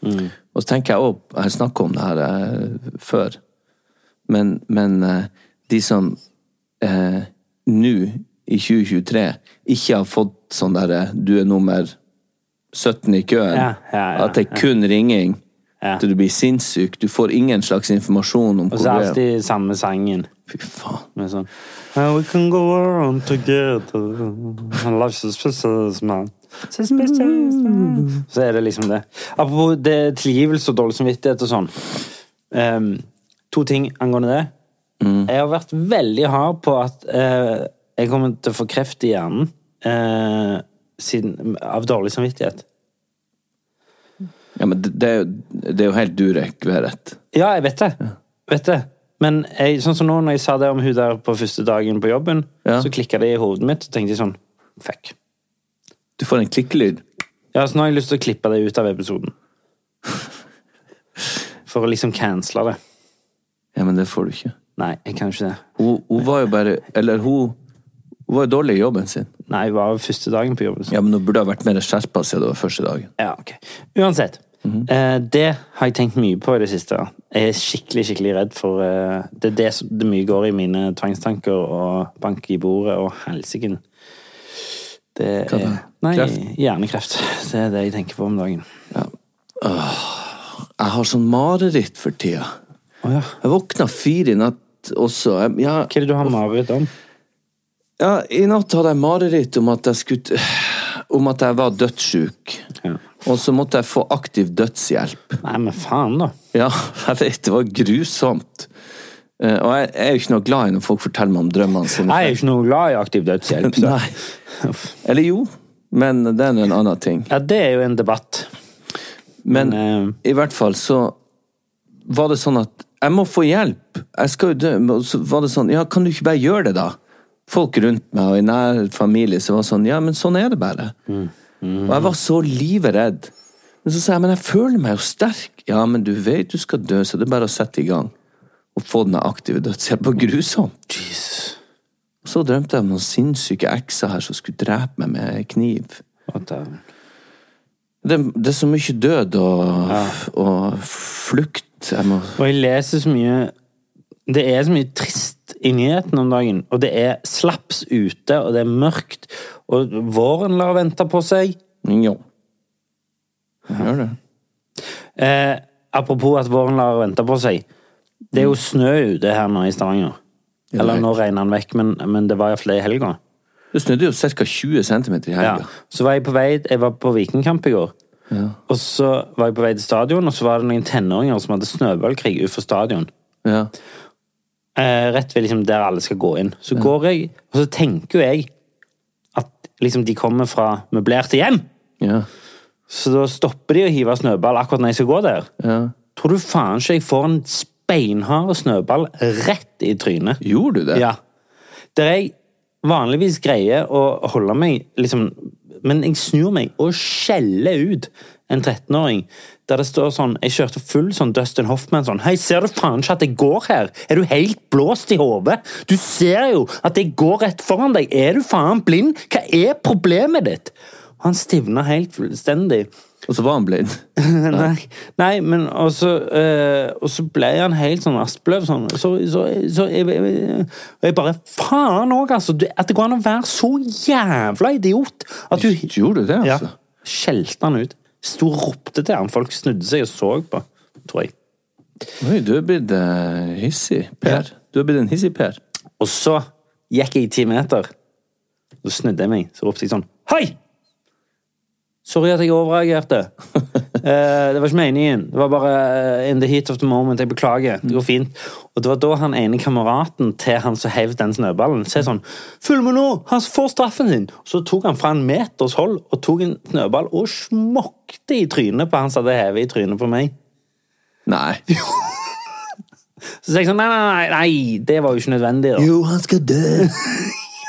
Speaker 2: Mm.
Speaker 3: Og så tenker jeg òg Jeg har snakka om det her eh, før. Men, men eh, de som eh, nå, i 2023, ikke har fått sånn derre Du er eh, nummer 17 i køen.
Speaker 2: Ja, ja, ja,
Speaker 3: at det er kun ringing
Speaker 2: Ja.
Speaker 3: til du blir sinnssyk. Du får ingen slags informasjon om
Speaker 2: Og så er det
Speaker 3: hvor du er.
Speaker 2: alltid samme sangen.
Speaker 3: Fy faen.
Speaker 2: Med sånn "And We can go on together. And Life is precious, man. Suspicious, man." Så er det liksom det. Apropos det tilgivelse og dårlig samvittighet og sånn. Ehm, to ting angående det. Jeg har vært veldig hard på at eh, jeg kommer til å få kreft i hjernen eh, siden, av dårlig samvittighet.
Speaker 3: Ja, men det, det, er jo- det er jo helt durek, Verrett.
Speaker 2: Ja, jeg vet det. Vet det. Men jeg, sånn som nå når jeg sa det om hun der på første dagen på jobben,
Speaker 3: Ja.
Speaker 2: så klikka det i hodet mitt, og tenkte jeg sånn Fuck.
Speaker 3: Du får en klikkelyd.
Speaker 2: Ja, så nå har jeg lyst til å klippe det ut av episoden. For å liksom cancele det.
Speaker 3: Ja, men det får du ikke.
Speaker 2: Nei, jeg kan ikke det.
Speaker 3: Hun, hun var jo bare Eller hun, hun var jo dårlig i jobben sin.
Speaker 2: Nei, det var jo første dagen på jobben. så-
Speaker 3: Ja, men hun burde ha vært mer skjerpa siden det var første dagen.
Speaker 2: Ja, ok. Uansett.
Speaker 3: Mhm.
Speaker 2: eh, det har jeg tenkt mye på i det siste. Jeg er skikkelig skikkelig redd for eh, Det er det som det mye går i mine tvangstanker og bank i bordet og helsiken. Det
Speaker 3: Hva da?
Speaker 2: er Nei,
Speaker 3: Kreft?
Speaker 2: hjernekreft. Det er det jeg tenker på om dagen.
Speaker 3: Jeg har sånn mareritt for tida.
Speaker 2: Å ja.
Speaker 3: Jeg våkna fire i natt også. Jeg, jeg,
Speaker 2: Hva er det du har mareritt om?
Speaker 3: ja, I natt hadde jeg mareritt om at jeg skulle Om at jeg var dødssjuk.
Speaker 2: Ja.
Speaker 3: Og så måtte jeg få aktiv dødshjelp.
Speaker 2: Nei, men faen, da.
Speaker 3: Ja, jeg vet, det var grusomt. Eh, Og jeg er jo ikke noe glad i når folk forteller meg om drømmene sine.
Speaker 2: Jeg er jo ikke noe glad i aktiv dødshjelp. Så.
Speaker 3: Nei. Eller jo, men det er nå en annen ting.
Speaker 2: Ja, det er jo en debatt.
Speaker 3: Men
Speaker 2: Men,
Speaker 3: i hvert fall så var det sånn at jeg må få hjelp. Jeg skal jo dø. Men Så var det sånn, ja, kan du ikke bare gjøre det, da? Folk rundt meg og i nær familie så var det sånn, ja, men sånn er det bare. Og jeg var så livredd. Men så sa jeg, men jeg føler meg jo sterk. Ja, men du vet du skal dø, så det er bare å sette i gang. Og få den aktive dødshjelp. Det var grusomt.
Speaker 2: Jesus.
Speaker 3: Og så drømte jeg om noen sinnssyke ekser her som skulle drepe meg med kniv.
Speaker 2: Å, dæven.
Speaker 3: Det, det er så mye død og, og flukt. Jeg må
Speaker 2: Og jeg leser så mye Det er så mye trist i nyheten om dagen. Og det er slaps ute, og det er mørkt, og våren lar vente på seg.
Speaker 3: Ja. Gjør det.
Speaker 2: Eh, apropos at våren lar vente på seg. Det er jo snø ute her nå i Stavanger.
Speaker 3: Mm. Ja,
Speaker 2: Eller
Speaker 3: det er-
Speaker 2: nå regner den vekk, men, men det var iallfall det i helga.
Speaker 3: Det snødde jo ca. 20 cm i
Speaker 2: Ja.
Speaker 3: helga.
Speaker 2: Så var jeg på vei Jeg var på Vikingkamp i går.
Speaker 3: Ja.
Speaker 2: Og så var jeg på vei til stadion, og så var det noen tenåringer som hadde snøballkrig utenfor stadion.
Speaker 3: Ja.
Speaker 2: eh, rett ved liksom der alle skal gå inn. Så går jeg, og så tenker jo jeg at liksom de kommer fra møblerte hjem.
Speaker 3: Ja.
Speaker 2: Så da stopper de å hive snøball akkurat når jeg skal gå der.
Speaker 3: ja.
Speaker 2: Tror du faen ikke jeg får en speinhard snøball rett i trynet?
Speaker 3: Gjorde du det?
Speaker 2: Ja. Der jeg vanligvis greier å holde meg liksom Men jeg snur meg og skjeller ut en 13-åring der det står sånn Jeg kjørte full sånn Dustin Hoffman sånn Hei, ser du faen ikke at jeg går her? Er du helt blåst i hodet? Du ser jo at jeg går rett foran deg! Er du faen blind? Hva er problemet ditt? Han stivna helt fullstendig.
Speaker 3: Og så var han blind.
Speaker 2: Nei, nei men og så, eh, og så ble han helt sånn Aspløv sånn. Så, så, så jeg, jeg, jeg, og jeg bare Faen òg, altså! du- At det går an å være så jævla idiot at du
Speaker 3: Gjorde du det,
Speaker 2: ja,
Speaker 3: altså?
Speaker 2: Skjelte han ut. Sto og ropte til han. Folk snudde seg og så på, tror jeg.
Speaker 3: Oi, du er blitt eh, hissig, Per. Du er blitt en hissig Per.
Speaker 2: Og så gikk jeg i ti meter. Så snudde jeg meg, så ropte jeg sånn Hei! Sorry at jeg overreagerte. Eh, det var ikke meningen. Det var bare eh, in the heat of the moment. Jeg beklager. Det går fint. Og det var da han ene kameraten til han som heiv den snøballen, sa sånn 'Følg med nå! Han får straffen sin!' Så tok han fra en meters hold og tok en snøball og smokte i trynet på han som hadde hevet i trynet på meg.
Speaker 3: Nei.
Speaker 2: Så sa jeg sånn Nei, nei, nei, nei, det var jo ikke nødvendig. da.
Speaker 3: Jo, han skal dø!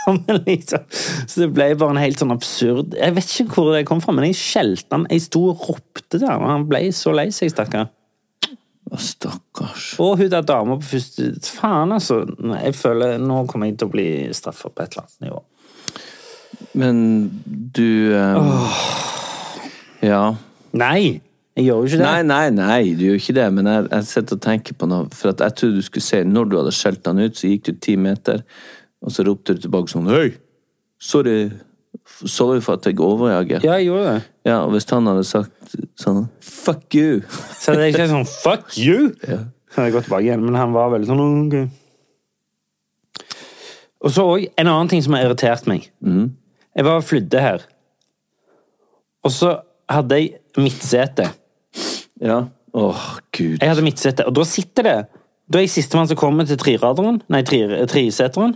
Speaker 2: Ja, men liksom, så det ble bare en helt sånn absurd Jeg vet ikke hvor det kom fra, men jeg skjelte han. Jeg sto og ropte til han, og han ble så lei seg, stakkar.
Speaker 3: Å, stakkars.
Speaker 2: Og hun der dama på første Faen, altså. Nei, Jeg føler Nå kommer jeg til å bli straffa på et eller annet nivå.
Speaker 3: Men du eh, Ja.
Speaker 2: Nei! Jeg gjør jo ikke det.
Speaker 3: Nei, nei, nei, du gjør ikke det, men jeg, jeg sitter og tenker på noe. For at jeg trodde du skulle se Når du hadde skjelt han ut, så gikk du ti meter, og så ropte du tilbake sånn Hei! Sorry. Sorry for at jeg overjager.
Speaker 2: Ja, jeg gjorde det.
Speaker 3: Ja, og hvis han hadde sagt sånn Fuck you!
Speaker 2: Så det er ikke sånn fuck you! Så hadde jeg gått tilbake igjen, men han var veldig sånn ok. Og så òg en annen ting som har irritert meg. Jeg var og flydde her, og så hadde jeg midtsete.
Speaker 3: Ja. Åh, gud.
Speaker 2: Jeg hadde midtsete, og da sitter det Da er jeg sistemann som kommer til triraderen. Nei, tri- triseteren.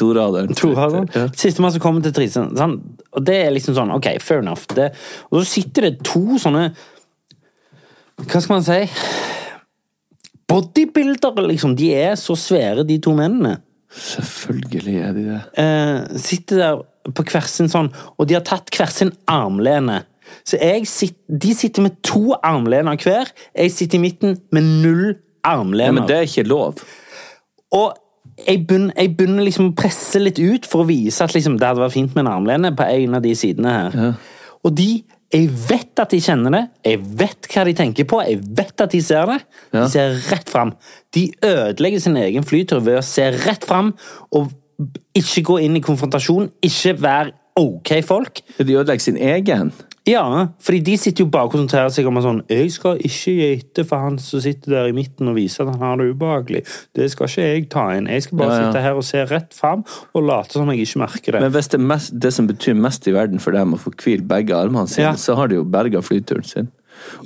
Speaker 3: Toraderen.
Speaker 2: Toraderen.
Speaker 3: Ja.
Speaker 2: Sistemann som kommer til triseteren. sant? Og det er liksom sånn, ok, fair enough. Det, og så sitter det to sånne Hva skal man si? Bodybuildere, liksom. De er så svære, de to mennene.
Speaker 3: Selvfølgelig er de det.
Speaker 2: eh, sitter der på hver sin sånn, og de har tatt hver sin armlene. Så jeg sit, de sitter med to armlener hver. Jeg sitter i midten med null
Speaker 3: Ja,
Speaker 2: armlener.
Speaker 3: men det er ikke lov.
Speaker 2: Og jeg begynner, jeg begynner liksom å presse litt ut for å vise at liksom, det hadde vært fint med en armlene på en av de sidene her. Og de Jeg vet at de kjenner det, jeg vet hva de tenker på, jeg vet at de ser det. De
Speaker 3: Ja.
Speaker 2: ser rett fram. De ødelegger sin egen flytur ved å se rett fram og ikke gå inn i konfrontasjon, ikke være ok folk.
Speaker 3: De ødelegger sin egen.
Speaker 2: Ja, fordi de sitter jo bare og konsentrerer seg om en sånn Jeg skal ikke gi etter for han som sitter der i midten og viser at han har det ubehagelig. Det skal ikke jeg ta inn. Jeg skal bare
Speaker 3: Ja, ja.
Speaker 2: sitte her og se rett fram og late som jeg ikke merker det.
Speaker 3: Men hvis det, er mest, det som betyr mest i verden for dem, å få hvilt begge armene sine,
Speaker 2: Ja.
Speaker 3: så har de jo berga flyturen sin.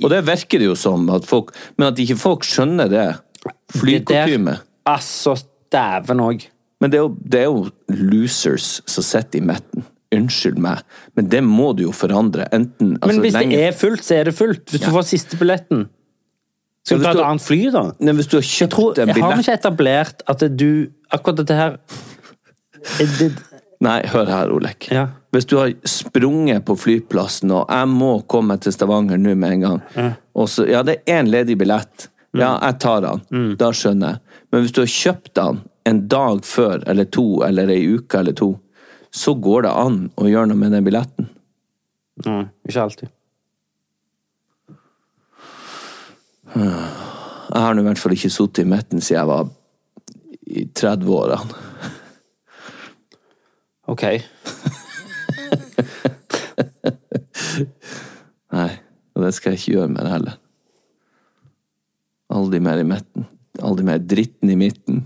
Speaker 3: Og det virker det jo som, at folk, men at ikke folk skjønner det.
Speaker 2: Det der-
Speaker 3: Flykutyme.
Speaker 2: Altså, dæven òg.
Speaker 3: Men det er, jo, det er jo losers som sitter i midten. Unnskyld meg, men det må du jo forandre. Enten
Speaker 2: Men
Speaker 3: altså,
Speaker 2: hvis
Speaker 3: lenge-
Speaker 2: det er fullt, så er det fullt. Hvis du får siste billetten.
Speaker 3: Men
Speaker 2: Skal du ta
Speaker 3: hvis
Speaker 2: et
Speaker 3: du-
Speaker 2: annet fly, da?
Speaker 3: Nei, Hvis du har kjøpt
Speaker 2: Jeg tror,
Speaker 3: en
Speaker 2: jeg har
Speaker 3: billett
Speaker 2: vi ikke etablert at du Akkurat dette her er det,
Speaker 3: Nei, hør her, Olek.
Speaker 2: Ja.
Speaker 3: Hvis du har sprunget på flyplassen, og jeg må komme til Stavanger nå med en gang og så, Ja, det er én ledig billett. Ja, jeg tar den. Da skjønner jeg. Men hvis du har kjøpt den en dag før, eller to, eller ei uke eller to, så går det an å gjøre noe med den billetten.
Speaker 2: Nei, ikke alltid.
Speaker 3: Jeg har nå i hvert fall ikke sittet i midten siden jeg var i 30-årene.
Speaker 2: Ok.
Speaker 3: Nei, og det skal jeg ikke gjøre mer heller. Aldri mer i midten. Aldri mer dritten i midten.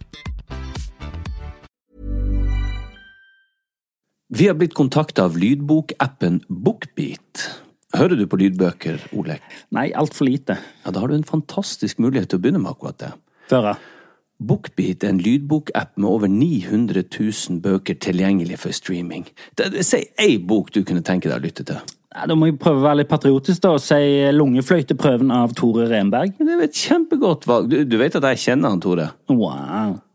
Speaker 3: Vi har blitt kontakta av lydbokappen Bookbeat. Hører du på lydbøker, Olek?
Speaker 2: Nei, altfor lite.
Speaker 3: Ja, da har du en fantastisk mulighet til å begynne med akkurat det.
Speaker 2: Før, ja.
Speaker 3: Bookbeat er en lydbokapp med over 900 000 bøker tilgjengelig for streaming. Det, det, si ei bok du kunne tenke deg å lytte til.
Speaker 2: Ja, Da må jeg prøve å være litt patriotisk da, og si lungefløyteprøven av Tore Renberg.
Speaker 3: Det er jo et kjempegodt valg. Du, du vet at jeg kjenner han, Tore?
Speaker 2: Wow.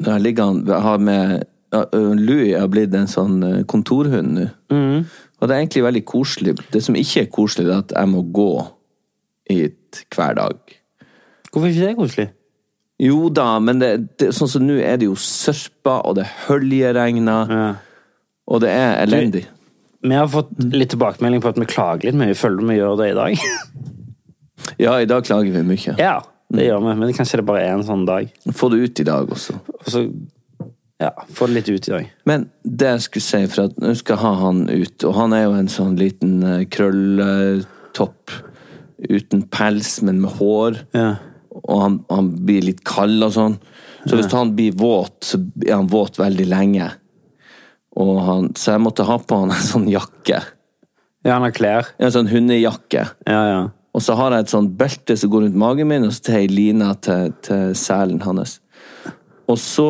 Speaker 3: Der ligger han jeg har med ja, ø, Louis har blitt en sånn ø, kontorhund nå. Og det er egentlig veldig koselig. Det som ikke er koselig, det er at jeg må gå hit hver dag.
Speaker 2: Hvorfor er ikke det koselig?
Speaker 3: Jo da, men det, det, sånn som nå er det jo sørpa, og det høljeregner, og det er elendig.
Speaker 2: Vi har fått litt tilbakemelding på at vi klager litt mye. Føler du vi gjør det i dag?
Speaker 3: Ja, i dag klager vi mye.
Speaker 2: ja, det gjør vi, men kanskje det bare er en sånn dag.
Speaker 3: Få det ut i dag også.
Speaker 2: Og så ja, få det litt ut i dag.
Speaker 3: Men det jeg skulle si, for at nå skal jeg ha han ut, og han er jo en sånn liten eh, krølletopp uten pels, men med hår,
Speaker 2: Ja.
Speaker 3: og han, han blir litt kald og sånn. Så hvis han blir våt, så er han våt veldig lenge. Og han, så jeg måtte ha på han en sånn jakke.
Speaker 2: Ja, han har klær.
Speaker 3: En sånn hundejakke.
Speaker 2: Ja, ja.
Speaker 3: Og så har jeg et sånt belte som går rundt magen min, og så tar jeg lina til, til selen hans. Og så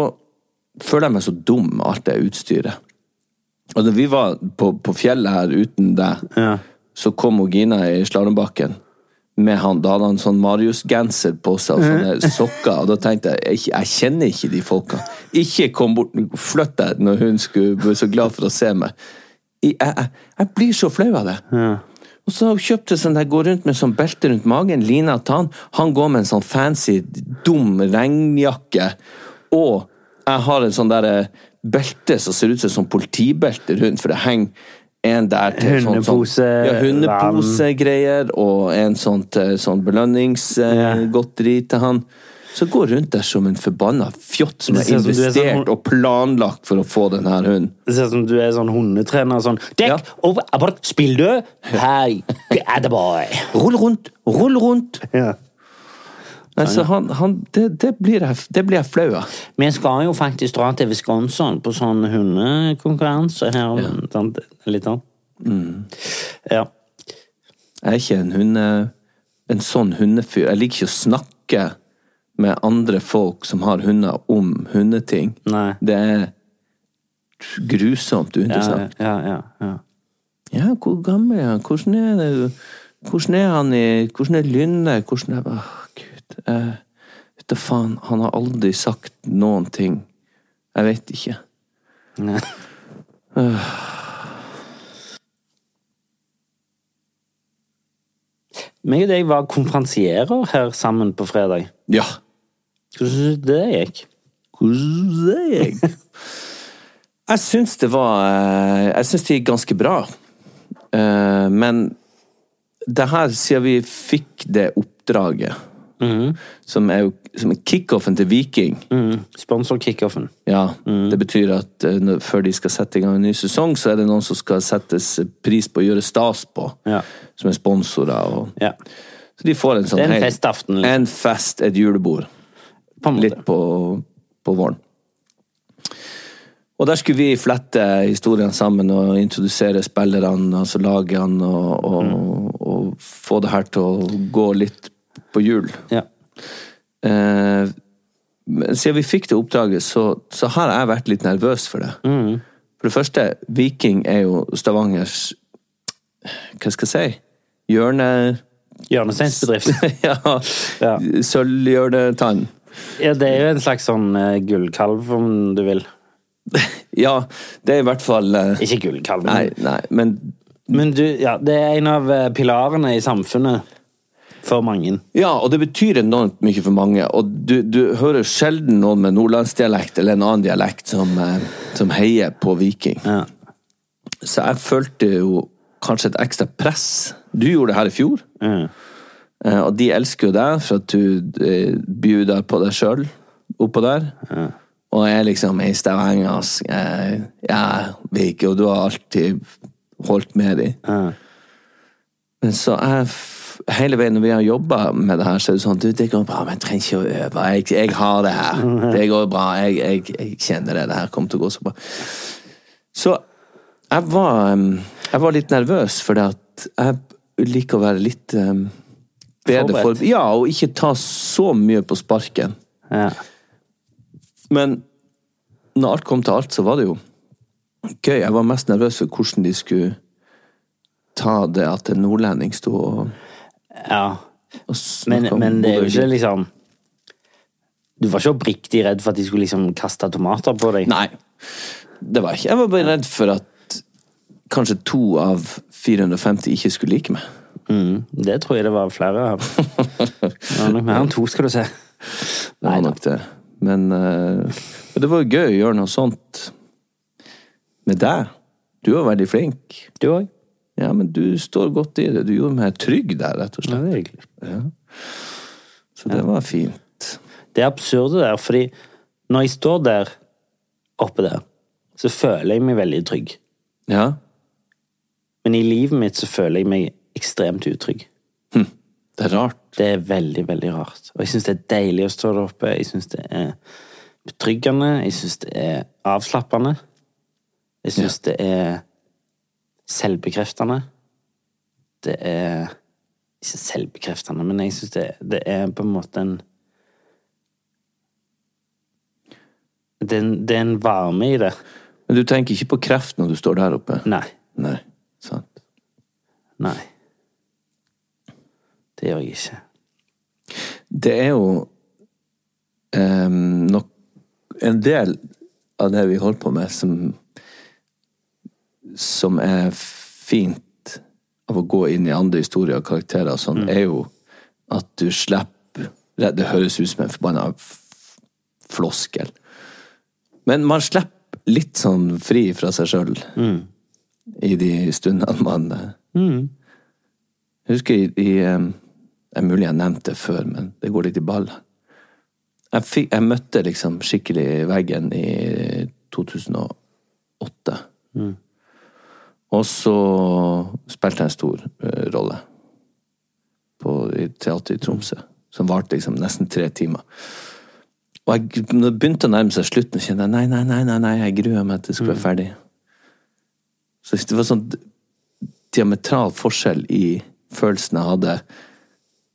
Speaker 3: føler jeg meg så dum med alt det utstyret. Og da vi var på, på fjellet her uten deg, så kom hun Gina i slalåmbakken. Med han, da hadde han sånn Marius-genser på seg og sånne sokker. Og da tenkte jeg jeg, jeg kjenner ikke de folka. Ikke kom bort Flytt deg når hun skulle bli så glad for å se meg. Jeg, jeg, jeg blir så flau av det. Og så kjøpte sånn der, går rundt med sånn belte rundt magen, Lina Tan. Han går med en sånn fancy, dum regnjakke. Og jeg har en sånn der eh, belte som ser ut som et sånn politibelte rundt, for det henger en der til sånn-
Speaker 2: Hundepose,
Speaker 3: sånn, ja, hundeposegreier, og en sånn til sånn belønningsgodteri til han. Så går rundt der som en forbanna fjott som
Speaker 2: Det
Speaker 3: har
Speaker 2: ser ut som du er sånn
Speaker 3: investert
Speaker 2: hund-
Speaker 3: og planlagt for å få den her hunden.
Speaker 2: Det ser ut som du er sånn hundetrener. Sånn, Dekk
Speaker 3: Ja.
Speaker 2: over, abort, spill du? Hei, attaboy.
Speaker 3: Rull rundt! Rull rundt!
Speaker 2: Ja.
Speaker 3: Nei, så han, han, det, det, blir jeg, det blir jeg flau av.
Speaker 2: Vi skal jo faktisk dra til Wisconsin på sånn hundekonkurranse her. om sånn, Litt sånn. Ja.
Speaker 3: Jeg er ikke en hunde... En sånn hundefyr. Jeg liker ikke å snakke med andre folk som har hunder om hundeting.
Speaker 2: Nei.
Speaker 3: Det er grusomt
Speaker 2: Ja,
Speaker 3: uinteressant.
Speaker 2: ja, ja, ja.
Speaker 3: Ja, hvor gammel er han? Hvordan er det? Hvordan er han i Hvordan er Lynne? Hvordan er Åh, gud. Eh, vet du faen, han har aldri sagt noen ting. Jeg vet ikke.
Speaker 2: Nei. Meg og deg var konferansierer her sammen på fredag.
Speaker 3: Ja.
Speaker 2: Hvordan synes du det gikk?
Speaker 3: Hvordan er jeg? Jeg syns det var eh, Jeg syns det gikk ganske bra. Eh, Men det her, siden vi fikk det oppdraget, som er jo som er kickoffen til Viking
Speaker 2: Mhm. Mm. Sponsor-kickoffen.
Speaker 3: Ja, det betyr at eh, når- før de skal sette i gang en ny sesong, så er det noen som skal settes pris på, gjøre stas på,
Speaker 2: Ja.
Speaker 3: som er sponsorer. Og,
Speaker 2: Ja.
Speaker 3: Så de får en sånn
Speaker 2: Det er
Speaker 3: hel-
Speaker 2: en festaften, liksom.
Speaker 3: En fest, et julebord.
Speaker 2: På en måte.
Speaker 3: Litt på, på våren. Og der skulle vi flette historiene sammen og introdusere spillerne, altså lagene, og, og,
Speaker 2: Mm.
Speaker 3: og få det her til å gå litt på hjul.
Speaker 2: Ja.
Speaker 3: Eh, men siden vi fikk det oppdraget, så, så har jeg vært litt nervøs for det.
Speaker 2: Mm.
Speaker 3: For det første, Viking er jo Stavangers Hva skal jeg si? Hjørne...
Speaker 2: Hjørnesteinsbedrift.
Speaker 3: ja,
Speaker 2: Ja.
Speaker 3: Sølvhjørnetann.
Speaker 2: Ja, det er jo en slags sånn eh, gullkalv, om du vil.
Speaker 3: Ja, det er i hvert fall eh,
Speaker 2: Ikke gullkalv,
Speaker 3: Nei,
Speaker 2: men,
Speaker 3: nei, men
Speaker 2: men du, ja, det er en av eh, pilarene i samfunnet for mange.
Speaker 3: Ja, og det betyr enormt mye for mange. Og du, du hører sjelden noen med nordlandsdialekt eller en annen dialekt som, eh, som heier på Viking.
Speaker 2: Ja.
Speaker 3: Så jeg følte jo kanskje et ekstra press. Du gjorde det her i fjor. Eh, Og de elsker jo deg for at du eh, bjuder på deg sjøl oppå der. Og jeg liksom i Stavanger ass, eh, Ja, Vike, og du har alltid holdt med dem. Men så jeg f- Hele veien når vi har jobba med det her, så er det sånn Du, det går bra, men jeg trenger ikke å øve. Jeg, jeg har det her. Det går bra. Jeg, jeg, jeg kjenner det. Det her kommer til å gå så bra. Så jeg var, em, jeg var litt nervøs, fordi at jeg liker å være litt em, bedre
Speaker 2: Forberedt.
Speaker 3: for Ja, og ikke ta så mye på sparken.
Speaker 2: Ja.
Speaker 3: Men når alt kom til alt, så var det jo gøy. Jeg var mest nervøs for hvordan de skulle ta det at en nordlending sto og,
Speaker 2: ja.
Speaker 3: og snakka
Speaker 2: Men,
Speaker 3: om
Speaker 2: men det er jo
Speaker 3: hovedøyet.
Speaker 2: ikke liksom Du var ikke oppriktig redd for at de skulle liksom kaste tomater på deg?
Speaker 3: Nei, det var jeg ikke. Jeg var bare redd for at kanskje to av 450 ikke skulle like meg.
Speaker 2: Mm, det tror jeg det var flere av. Det var nok mer enn to, skal du se.
Speaker 3: Det var nok det. Men eh, men det var jo gøy å gjøre noe sånt med deg. Du var veldig flink.
Speaker 2: Du òg?
Speaker 3: Ja, men du står godt i det. Du gjorde meg trygg der, rett og
Speaker 2: Ja,
Speaker 3: slett.
Speaker 2: det er hyggelig.
Speaker 3: Så det var fint.
Speaker 2: Det er absurde der, fordi når jeg står der oppe der, så føler jeg meg veldig trygg.
Speaker 3: Ja,
Speaker 2: Men i livet mitt så føler jeg meg ekstremt utrygg.
Speaker 3: det er rart.
Speaker 2: Det er veldig, veldig rart. Og jeg syns det er deilig å stå der oppe. Jeg syns det er betryggende. Jeg syns det er avslappende. Jeg syns det er selvbekreftende. Det er Ikke selvbekreftende, men jeg syns det, det er på en måte en det er, en det er en varme i det.
Speaker 3: Men du tenker ikke på kreft når du står der oppe?
Speaker 2: Nei.
Speaker 3: Nei, sant.
Speaker 2: Nei. Det gjør jeg ikke.
Speaker 3: Det er jo eh, nok en del av det vi holder på med, som, som er fint av å gå inn i andre historier og karakterer, og sånn, er jo at du slipper Det det høres ut som en forbanna f- floskel. Men man slipper litt sånn fri fra seg sjøl i de stundene man eh, Jeg husker i, i eh, Det er mulig jeg har nevnt det før, men det går litt i ballen. Jeg, fikk, jeg møtte liksom skikkelig veggen i 2008. Og så spilte jeg en stor eh, rolle på, i teater i Tromsø, som varte liksom nesten tre timer. Og jeg, når det begynte å nærme seg slutten, kjente jeg nei, nei, nei, nei, nei jeg gruer meg til det skal være ferdig. Så det var sånn diametral forskjell i følelsen jeg hadde.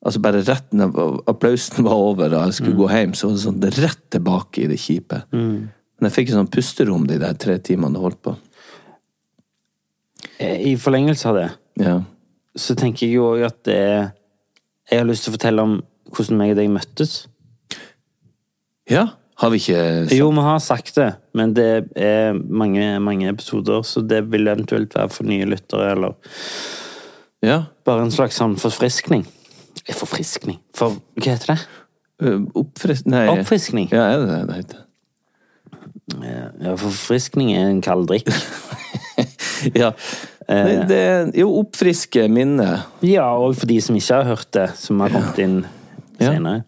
Speaker 3: Altså bare rett når applausen var over og jeg skulle gå hjem, så var det sånn det er rett tilbake i det kjipe. Men jeg fikk et sånn pusterom de der tre timene det holdt på.
Speaker 2: Eh, I forlengelse av det
Speaker 3: Ja.
Speaker 2: så tenker jeg jo også at det er Jeg har lyst til å fortelle om hvordan meg og deg møttes.
Speaker 3: ja. Har vi ikke sagt
Speaker 2: Jo, vi har sagt det, men det er mange, mange episoder, så det vil eventuelt være for nye lyttere, eller
Speaker 3: Ja.
Speaker 2: bare en slags sånn forfriskning. Eh, Forfriskning For hva heter det?
Speaker 3: Ø, Eh, Oppfris... Nei.
Speaker 2: Oppfriskning.
Speaker 3: Ja, er det det det heter?
Speaker 2: Ja, forfriskning er en kald drikk.
Speaker 3: Ja. Eh. Nei, det er jo oppfriske minner.
Speaker 2: Ja, og for de som ikke har hørt det, som har kommet inn
Speaker 3: Ja.
Speaker 2: senere.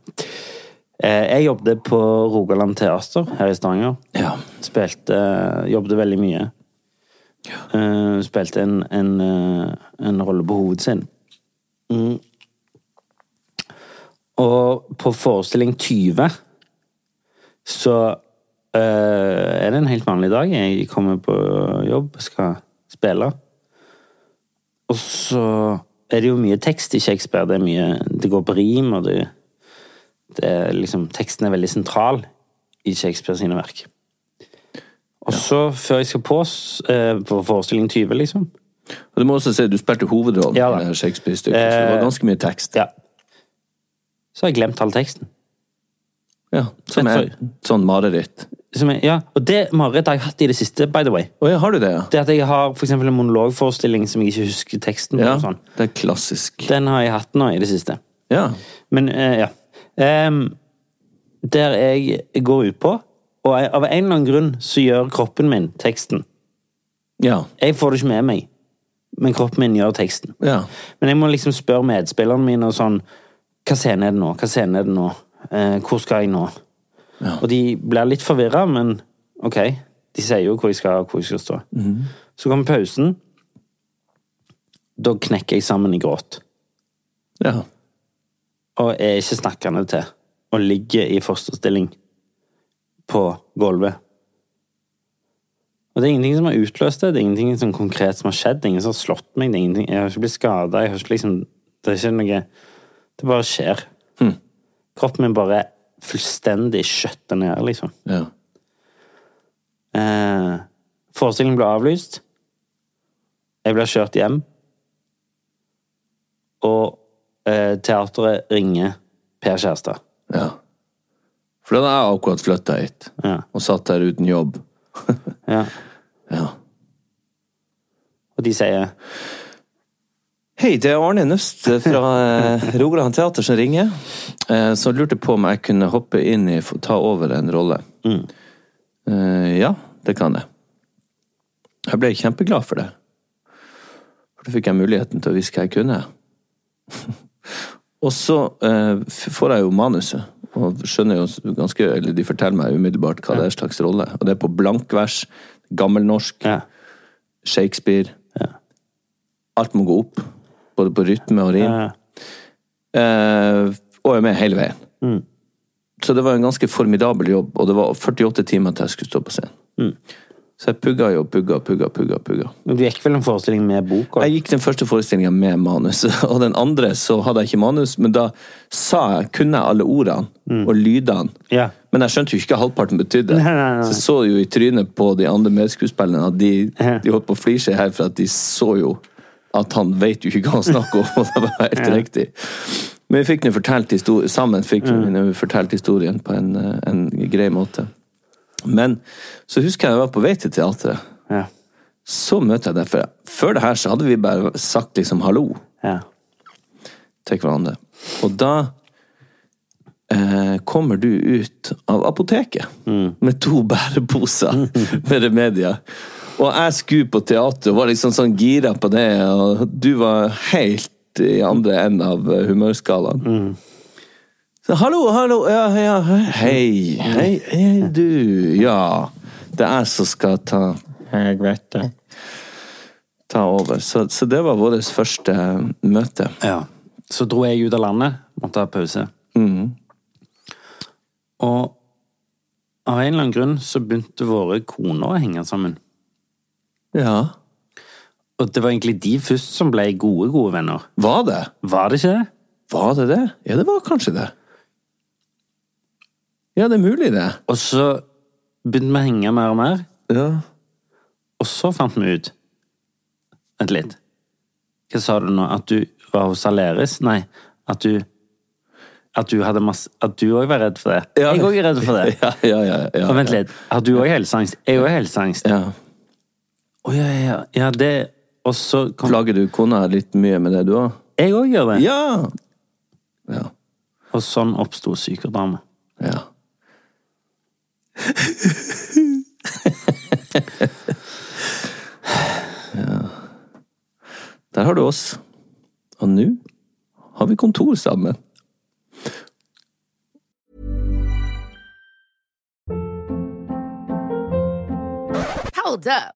Speaker 2: Eh, Jeg jobbet på Rogaland Teater her i Stavanger.
Speaker 3: Ja.
Speaker 2: Spilte Jobbet veldig mye. Eh, spilte en, en, eh, en rolle på hovedet sin. Mm. Og på forestilling 20 så eh, er det en helt vanlig dag. Jeg kommer på jobb, skal spille. Og så er det jo mye tekst i Shakespeare. Det, er mye, det går på rim, og det, det er liksom, teksten er veldig sentral i Shakespeare sine verk. Og så, før jeg skal på, s- eh, på forestilling 20, liksom
Speaker 3: Og du må også si du spilte hovedrollen
Speaker 2: Ja da.
Speaker 3: i det Shakespeare-stykket, så det var ganske mye tekst.
Speaker 2: Ja. Så har jeg glemt all teksten.
Speaker 3: Ja. Som er
Speaker 2: Jeg
Speaker 3: et sånn mareritt.
Speaker 2: Som jeg, ja, og det marerittet har jeg hatt i det siste, by the way.
Speaker 3: Å ja, har du det, ja?
Speaker 2: Det at jeg har for eksempel en monologforestilling som jeg ikke husker teksten på.
Speaker 3: Ja.
Speaker 2: og Sånn.
Speaker 3: Det er klassisk.
Speaker 2: Den har jeg hatt nå i det siste.
Speaker 3: Ja.
Speaker 2: Men eh, ja. Em, der jeg går ut på, og jeg, av en eller annen grunn så gjør kroppen min teksten.
Speaker 3: Ja.
Speaker 2: Jeg får det ikke med meg, men kroppen min gjør teksten.
Speaker 3: Ja.
Speaker 2: Men jeg må liksom spørre medspillerne mine og sånn Hva scene er det nå? Hva scene er det nå? Eh, hvor skal jeg nå? Og de blir litt forvirra, men OK. De sier jo hvor jeg skal, og hvor jeg skal stå. Så kommer pausen. Da knekker jeg sammen i gråt.
Speaker 3: Ja.
Speaker 2: Og er ikke snakkende til. Og ligger i fosterstilling på gulvet. Og det er ingenting som har utløst det, det er ingenting som konkret som har skjedd, det er ingen som har slått meg, det er ingenting, jeg har ikke blitt skada, jeg har ikke liksom Det er ikke noe Det bare skjer. Kroppen min bare fullstendig skjøtter ned, liksom.
Speaker 3: ja.
Speaker 2: Eh, forestillingen ble avlyst. Jeg ble kjørt hjem. Og eh, teateret ringer Per Kjærstad.
Speaker 3: ja. For da hadde jeg akkurat flytta hit,
Speaker 2: Ja.
Speaker 3: og satt der uten jobb.
Speaker 2: Ja.
Speaker 3: Ja.
Speaker 2: Og de sier
Speaker 3: Hei, det er Arne Nøst fra eh, Rogaland Teater som ringer. eh, Som lurte på om jeg kunne hoppe inn i få ta over en rolle. Eh, Ja, det kan jeg. Jeg ble kjempeglad for det. For da fikk jeg muligheten til å vise hva jeg kunne. Og så eh, f- får jeg jo manuset, og skjønner jo ganske Eller de forteller meg umiddelbart hva det er slags rolle. Og det er på blankvers, gammelnorsk.
Speaker 2: ja.
Speaker 3: Shakespeare. Alt må gå opp, både på rytme og rim.
Speaker 2: Ja.
Speaker 3: Eh, og er med hele veien. Så det var en ganske formidabel jobb, og det var 48 timer til jeg skulle stå på scenen. Så jeg pugga jo, pugga, pugga, pugga. pugga.
Speaker 2: Men Du gikk vel en forestilling med bok?
Speaker 3: Jeg gikk den første forestillinga med manus, og den andre så hadde jeg ikke manus, men da sa jeg, kunne jeg alle ordene og lydene.
Speaker 2: Ja.
Speaker 3: Men jeg skjønte jo ikke hva halvparten betydde.
Speaker 2: Nei, nei, nei.
Speaker 3: Så jeg så jo i trynet på de andre medskuespillerne at de, de holdt på å flire seg her, for at de så jo at han vet jo ikke hva han snakker om, og det var helt riktig. Men vi fikk nå fortalt historien, sammen fikk
Speaker 2: Mm.
Speaker 3: vi nå fortalt historien på en, eh, en grei måte. Men så husker jeg jeg var på vei til teatret.
Speaker 2: Ja.
Speaker 3: Så møter jeg deg, for før det her så hadde vi bare sagt liksom hallo
Speaker 2: Ja.
Speaker 3: til hverandre. Og da eh, kommer du ut av apoteket med to bæreposer med remedier. Og jeg skulle på teater og var liksom sånn gira på det, og du var helt i andre enden av eh, humørskalaen. Så, hallo, hallo, ja, ja, hei, hei, hei, du, ja. Det er jeg som skal ta Jeg vet det. Ta over. Så, så det var vårt første eh, møte.
Speaker 2: Ja. Så dro jeg ut av landet, måtte ha pause. Og av en eller annen grunn så begynte våre koner å henge sammen.
Speaker 3: Ja.
Speaker 2: Og det var egentlig de først som ble gode, gode venner.
Speaker 3: Var det?
Speaker 2: Var det ikke det?
Speaker 3: Var det det? Ja, det var kanskje det. Ja, det er mulig, det.
Speaker 2: Og så begynte vi å henge mer og mer,
Speaker 3: Ja.
Speaker 2: og så fant vi ut Vent litt. Hva sa du nå? At du var hos Aleris? Nei, at du At du hadde masse At du òg var redd for det?
Speaker 3: Ja.
Speaker 2: Jeg òg er redd for det.
Speaker 3: Ja, ja, ja. ja.
Speaker 2: Og vent litt. Har du òg helseangst? Jeg òg helseangst.
Speaker 3: Ja.
Speaker 2: Å ja, ja, ja. ja, det Og så kom
Speaker 3: Plager du kona litt mye med det, du òg?
Speaker 2: Jeg òg gjør det.
Speaker 3: Ja. ja!
Speaker 2: Og sånn oppsto psykodrama.
Speaker 3: Ja. Der har du oss. Og nå har vi kontor sammen.
Speaker 5: Hold up.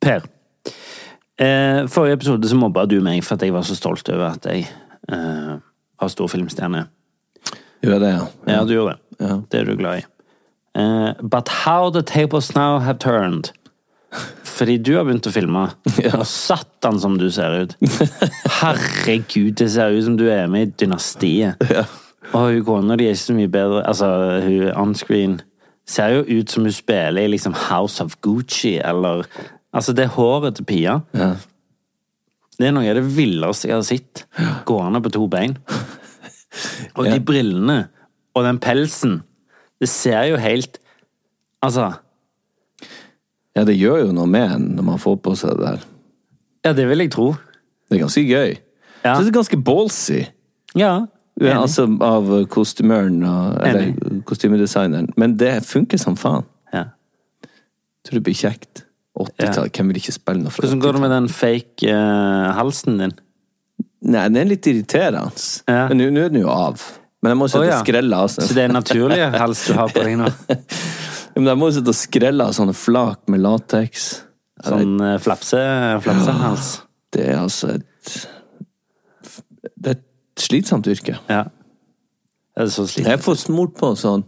Speaker 2: Per. Eh, forrige episode så mobba du meg for at jeg var så stolt over at jeg eh, var stor filmstjerne.
Speaker 3: Gjør jeg det, ja?
Speaker 2: Ja, du gjorde det.
Speaker 3: Ja.
Speaker 2: Det er du glad i. Eh, but how the tables now have turned. Fordi du har begynt å filme. Og satan som du ser ut. Herregud, det ser ut som du er med i Dynastiet. Og hun kona di er ikke så mye bedre. Altså, hun onscreen ser jo ut som hun spiller i liksom House of Gucci, eller Altså, det håret til Pia
Speaker 3: ja.
Speaker 2: Det er noe av det villeste jeg har sett. Gående på to bein. Og de brillene og den pelsen Det ser jo helt Altså
Speaker 3: Ja, det gjør jo noe med en når man får på seg det der.
Speaker 2: Ja, det vil jeg tro.
Speaker 3: Det er ganske gøy.
Speaker 2: Ja.
Speaker 3: Så det er ganske ballsy.
Speaker 2: Ja.
Speaker 3: Ja,
Speaker 2: enig.
Speaker 3: altså av kostymøren og eller, kostymedesigneren. Men det funker som faen.
Speaker 2: ja.
Speaker 3: Tror det blir kjekt. 80-tall, hvem vil ikke spille noe fra
Speaker 2: Hvordan går
Speaker 3: 80-tallet?
Speaker 2: det med den fake eh, halsen din?
Speaker 3: Nei, den er litt irriterende.
Speaker 2: Ja.
Speaker 3: Men nå- nå er den jo av. Men jeg må jo
Speaker 2: Å,
Speaker 3: sitte
Speaker 2: ja.
Speaker 3: og skrelle av sånn.
Speaker 2: Så det er en naturlig hals du har på deg nå?
Speaker 3: Ja, Men jeg må jo sitte og skrelle av sånne flak med lateks.
Speaker 2: Sånn eh, flapse, flapsehals.
Speaker 3: Det er altså et Det er et slitsomt yrke.
Speaker 2: Ja. Er det så slitsomt?
Speaker 3: Jeg får smurt på sånn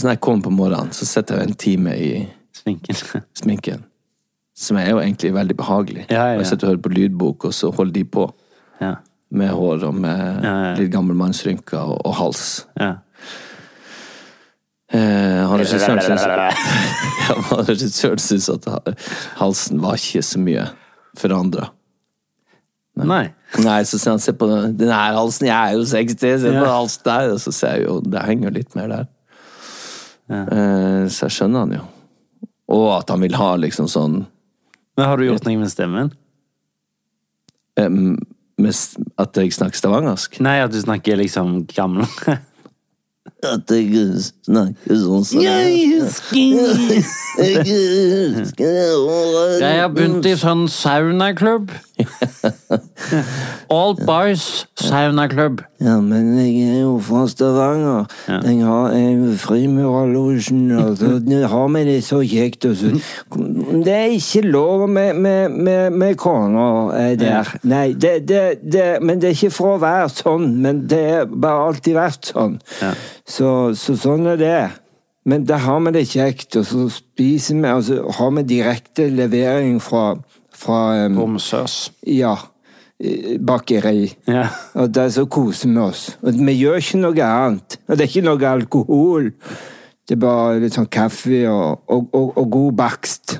Speaker 3: Sånn jeg kommer på morgenen, så sitter jeg en time i
Speaker 2: Sminken.
Speaker 3: sminken. Som er jo egentlig veldig behagelig.
Speaker 2: Ja, ja, ja.
Speaker 3: Jeg sitter og hører på lydbok, og så holder de på.
Speaker 2: Ja.
Speaker 3: Med hår og med
Speaker 2: ja, ja.
Speaker 3: litt gammelmannsrynker og, og hals.
Speaker 2: ja.
Speaker 3: Eh, han regissøren syns Ja, men regissøren syns at ha- halsen var ikke så mye forandra.
Speaker 2: Nei.
Speaker 3: Nei, så sier han se på den, den her halsen, jeg er jo 60, se på den halsen der. Og så ser jeg jo, det henger jo litt mer der. Eh, så jeg skjønner han jo. Og at han vil ha liksom sånn
Speaker 2: Men har du gjort noe med stemmen?
Speaker 3: em, med, s- At jeg snakker stavangersk.
Speaker 2: Nei, at du snakker liksom gamlere.
Speaker 3: At jeg snakker sånn som
Speaker 2: husker
Speaker 3: Jeg
Speaker 2: Jeg har begynt i sånn saunaklubb. Old Boys saunaklubb.
Speaker 3: Ja, men jeg er jo fra Stavanger. Jeg har jeg er jo frimurerlosjen, og så har vi det så kjekt. Og så. Det er ikke lov med, med, med, med konger eh, der. Nei, det, det, det, men det er ikke for å være sånn, men det er bare alltid vært sånn. Så, så sånn er det. Men da har vi det kjekt, og så spiser vi, og så har vi direkte levering fra, fra eh,
Speaker 2: Bomsøs.
Speaker 3: ja, eh, bakeri.
Speaker 2: Ja.
Speaker 3: Og der så koser vi oss. Og vi gjør ikke noe annet. Og det er ikke noe alkohol. Det er bare litt sånn kaffe og, og, og, og god bakst.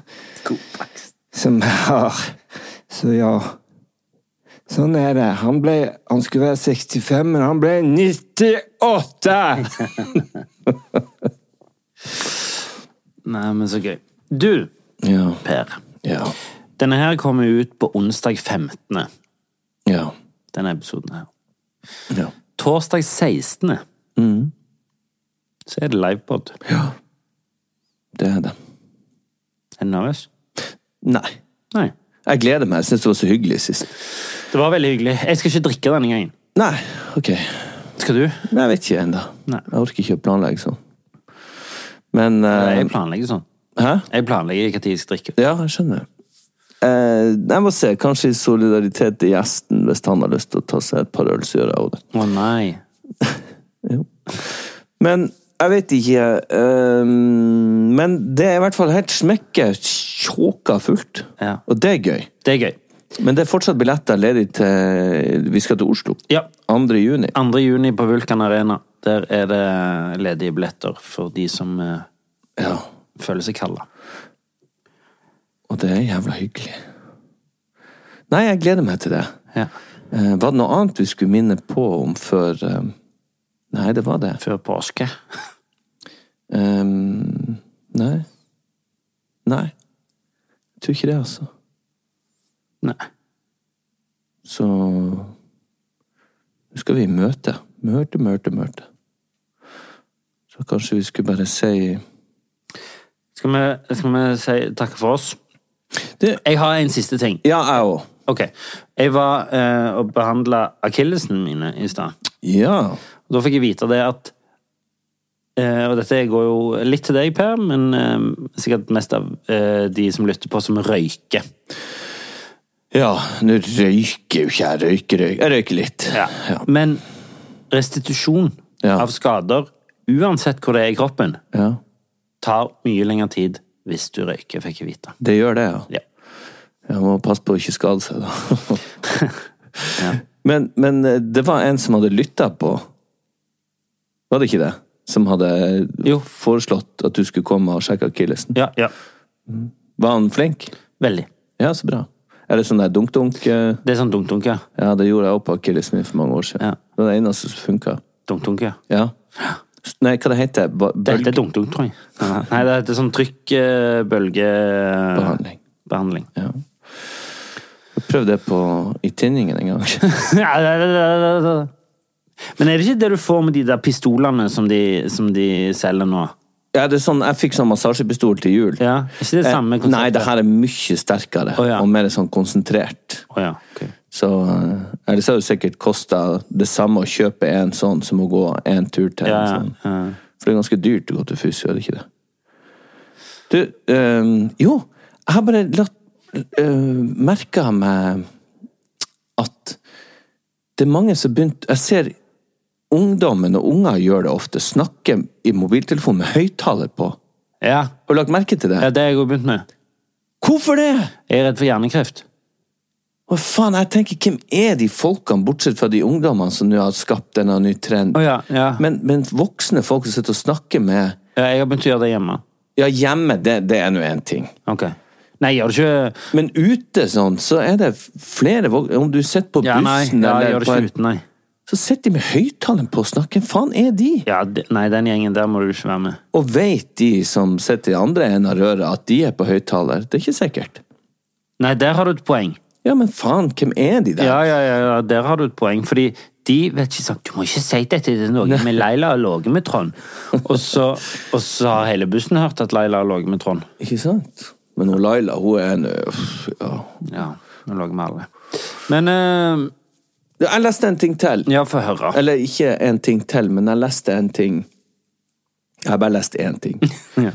Speaker 3: Som vi har. Så ja. Sånn er det. Han, ble, han skulle være 65, men han ble 98!
Speaker 2: Nei, men så gøy. Du,
Speaker 3: Ja.
Speaker 2: Per.
Speaker 3: Ja.
Speaker 2: Denne her kommer ut på onsdag 15.
Speaker 3: Ja.
Speaker 2: Denne episoden her.
Speaker 3: Ja.
Speaker 2: Torsdag 16. Så er det livepod. Er
Speaker 3: Det er det.
Speaker 2: du nervøs?
Speaker 3: Nei.
Speaker 2: Nei.
Speaker 3: Jeg gleder meg. Jeg syns det var så hyggelig sist.
Speaker 2: Det var veldig hyggelig. Jeg skal ikke drikke denne gangen.
Speaker 3: Nei, OK.
Speaker 2: Skal du?
Speaker 3: Nei, jeg vet ikke ennå.
Speaker 2: Nei.
Speaker 3: Jeg orker ikke å planlegge sånn. Men eh,
Speaker 2: Jeg planlegger sånn.
Speaker 3: Hæ?
Speaker 2: Jeg planlegger hva tid jeg skal drikke.
Speaker 3: Ja, jeg skjønner. Eh, jeg må se. Kanskje i solidaritet til gjesten, hvis han har lyst til å ta seg et par øl, så gjør jeg også det.
Speaker 2: Å nei.
Speaker 3: Men jeg vet ikke. eh, men det er i hvert fall helt smekke tjåka fullt.
Speaker 2: Ja.
Speaker 3: Og det er gøy.
Speaker 2: Det er gøy.
Speaker 3: Men det er fortsatt billetter ledig til Vi skal til Oslo.
Speaker 2: Ja.
Speaker 3: 2. juni.
Speaker 2: 2. juni på Vulkan Arena. Der er det eh, ledige billetter for de som eh,
Speaker 3: Ja.
Speaker 2: føler seg kalla.
Speaker 3: Og det er jævla hyggelig. Nei, jeg gleder meg til det.
Speaker 2: Ja.
Speaker 3: Eh, var det noe annet vi skulle minne på om før eh, Nei, det var det.
Speaker 2: Før påske.
Speaker 3: Ehm, nei. Nei. Jeg tror ikke det, altså.
Speaker 2: Nei.
Speaker 3: Så Nå skal vi i møte. Møte, møte, møte. Så kanskje vi skulle bare si
Speaker 2: Skal vi, skal vi si takke for oss?
Speaker 3: Du-
Speaker 2: jeg har en siste ting.
Speaker 3: Ja, jeg òg.
Speaker 2: Ok. Jeg var eh, og behandla akillesen mine i stad.
Speaker 3: Ja.
Speaker 2: Og Da fikk jeg vite det at eh, Og dette går jo litt til deg, Per, men eh, sikkert mest av eh, de som lytter på, som røyker.
Speaker 3: Ja, nå røyker jo ikke jeg. Røyker, røyker. Jeg røyker litt. Ja.
Speaker 2: Men restitusjon
Speaker 3: Ja.
Speaker 2: av skader, uansett hvor det er i kroppen,
Speaker 3: ja.
Speaker 2: tar mye lengre tid hvis du røyker, fikk jeg vite.
Speaker 3: Det gjør det, ja.
Speaker 2: Ja.
Speaker 3: Jeg må passe på å ikke skade seg, da. men, men eh, det var en som hadde lytta på Var det ikke det? Som hadde
Speaker 2: Jo.
Speaker 3: foreslått at du skulle komme og sjekke akillesen.
Speaker 2: Ja, ja.
Speaker 3: Var han flink?
Speaker 2: Veldig.
Speaker 3: Ja, så bra. Eller sånn der dunk-dunk. eh,
Speaker 2: Det er sånn dunk-dunk, ja.
Speaker 3: Ja, det gjorde jeg opp på akillesen min for mange år siden.
Speaker 2: Ja.
Speaker 3: Det var det eneste som funka.
Speaker 2: Dunk-dunk, ja.
Speaker 3: Ja. S- Nei, hva det heter det?
Speaker 2: Det heter dunk-dunk, tror jeg. Nei, Nei, det heter sånn trykkbølgebehandling.
Speaker 3: Bølgebehandling. Ja. Jeg prøvde det på i tinningen en gang.
Speaker 2: Men er det ikke det du får med de der pistolene som de, som de selger nå?
Speaker 3: Ja, det er sånn, Jeg fikk sånn massasjepistol til jul.
Speaker 2: Ja, ikke
Speaker 3: Eh,
Speaker 2: det samme konseptet?
Speaker 3: Nei, det her er mye sterkere
Speaker 2: Å, ja.
Speaker 3: og mer sånn konsentrert.
Speaker 2: Å ja, ok.
Speaker 3: Så eh, Ellers har det sikkert kosta det samme å kjøpe en sånn som å gå en tur til
Speaker 2: Ja, ja,
Speaker 3: en sånn. For det er ganske dyrt å gå til fysio, er det ikke det? Du, eh, jo, jeg har bare latt uh, merka meg at det er mange som begynte Jeg ser ungdommen og unger gjør det ofte, snakker i mobiltelefonen med høyttaler på.
Speaker 2: Ja,
Speaker 3: Har du lagt merke til det?
Speaker 2: ja, det har jeg også begynt med.
Speaker 3: Hvorfor det?!
Speaker 2: Jeg er redd for hjernekreft.
Speaker 3: Hva faen, jeg tenker, Hvem er de folkene, bortsett fra de ungdommene som nå har skapt denne nye trenden?
Speaker 2: Å ja, ja.
Speaker 3: Men, men voksne folk som sitter og snakker med
Speaker 2: Ja, jeg har begynt å gjøre det hjemme.
Speaker 3: Ja, hjemme, det, det er nå én ting.
Speaker 2: Ok. Nei, jeg gjør det ikke
Speaker 3: Men ute sånn, så er det flere voksne Om du sitter på
Speaker 2: Ja, nei,
Speaker 3: bussen
Speaker 2: ja, jeg
Speaker 3: eller
Speaker 2: gjør det
Speaker 3: på en-
Speaker 2: ikke uten, nei.
Speaker 3: Så sitter de med høyttaleren på og snakker. Hvem faen er de?
Speaker 2: Ja, det- nei, den gjengen der må du ikke være med.
Speaker 3: Og veit de som sitter i andre enden av røret, at de er på høyttaler? Det er ikke sikkert.
Speaker 2: Nei, der har du et poeng.
Speaker 3: Ja, men faen, hvem er de der?
Speaker 2: Ja, ja, ja, ja, der har du et poeng, fordi de vet ikke sånn, du må ikke si dette, det er noe med Leila har ligget med Trond. Og så, og så har hele bussen hørt at Leila har ligget med Trond.
Speaker 3: Ikke sant? Men hun Laila, hun er nå uff, ja.
Speaker 2: Ja, hun ligger med alle. Men, eh,
Speaker 3: Jeg leste en ting til.
Speaker 2: ja, få høre.
Speaker 3: Eller ikke en ting til, men jeg leste en ting. Jeg har bare lest én ting.
Speaker 2: Ja.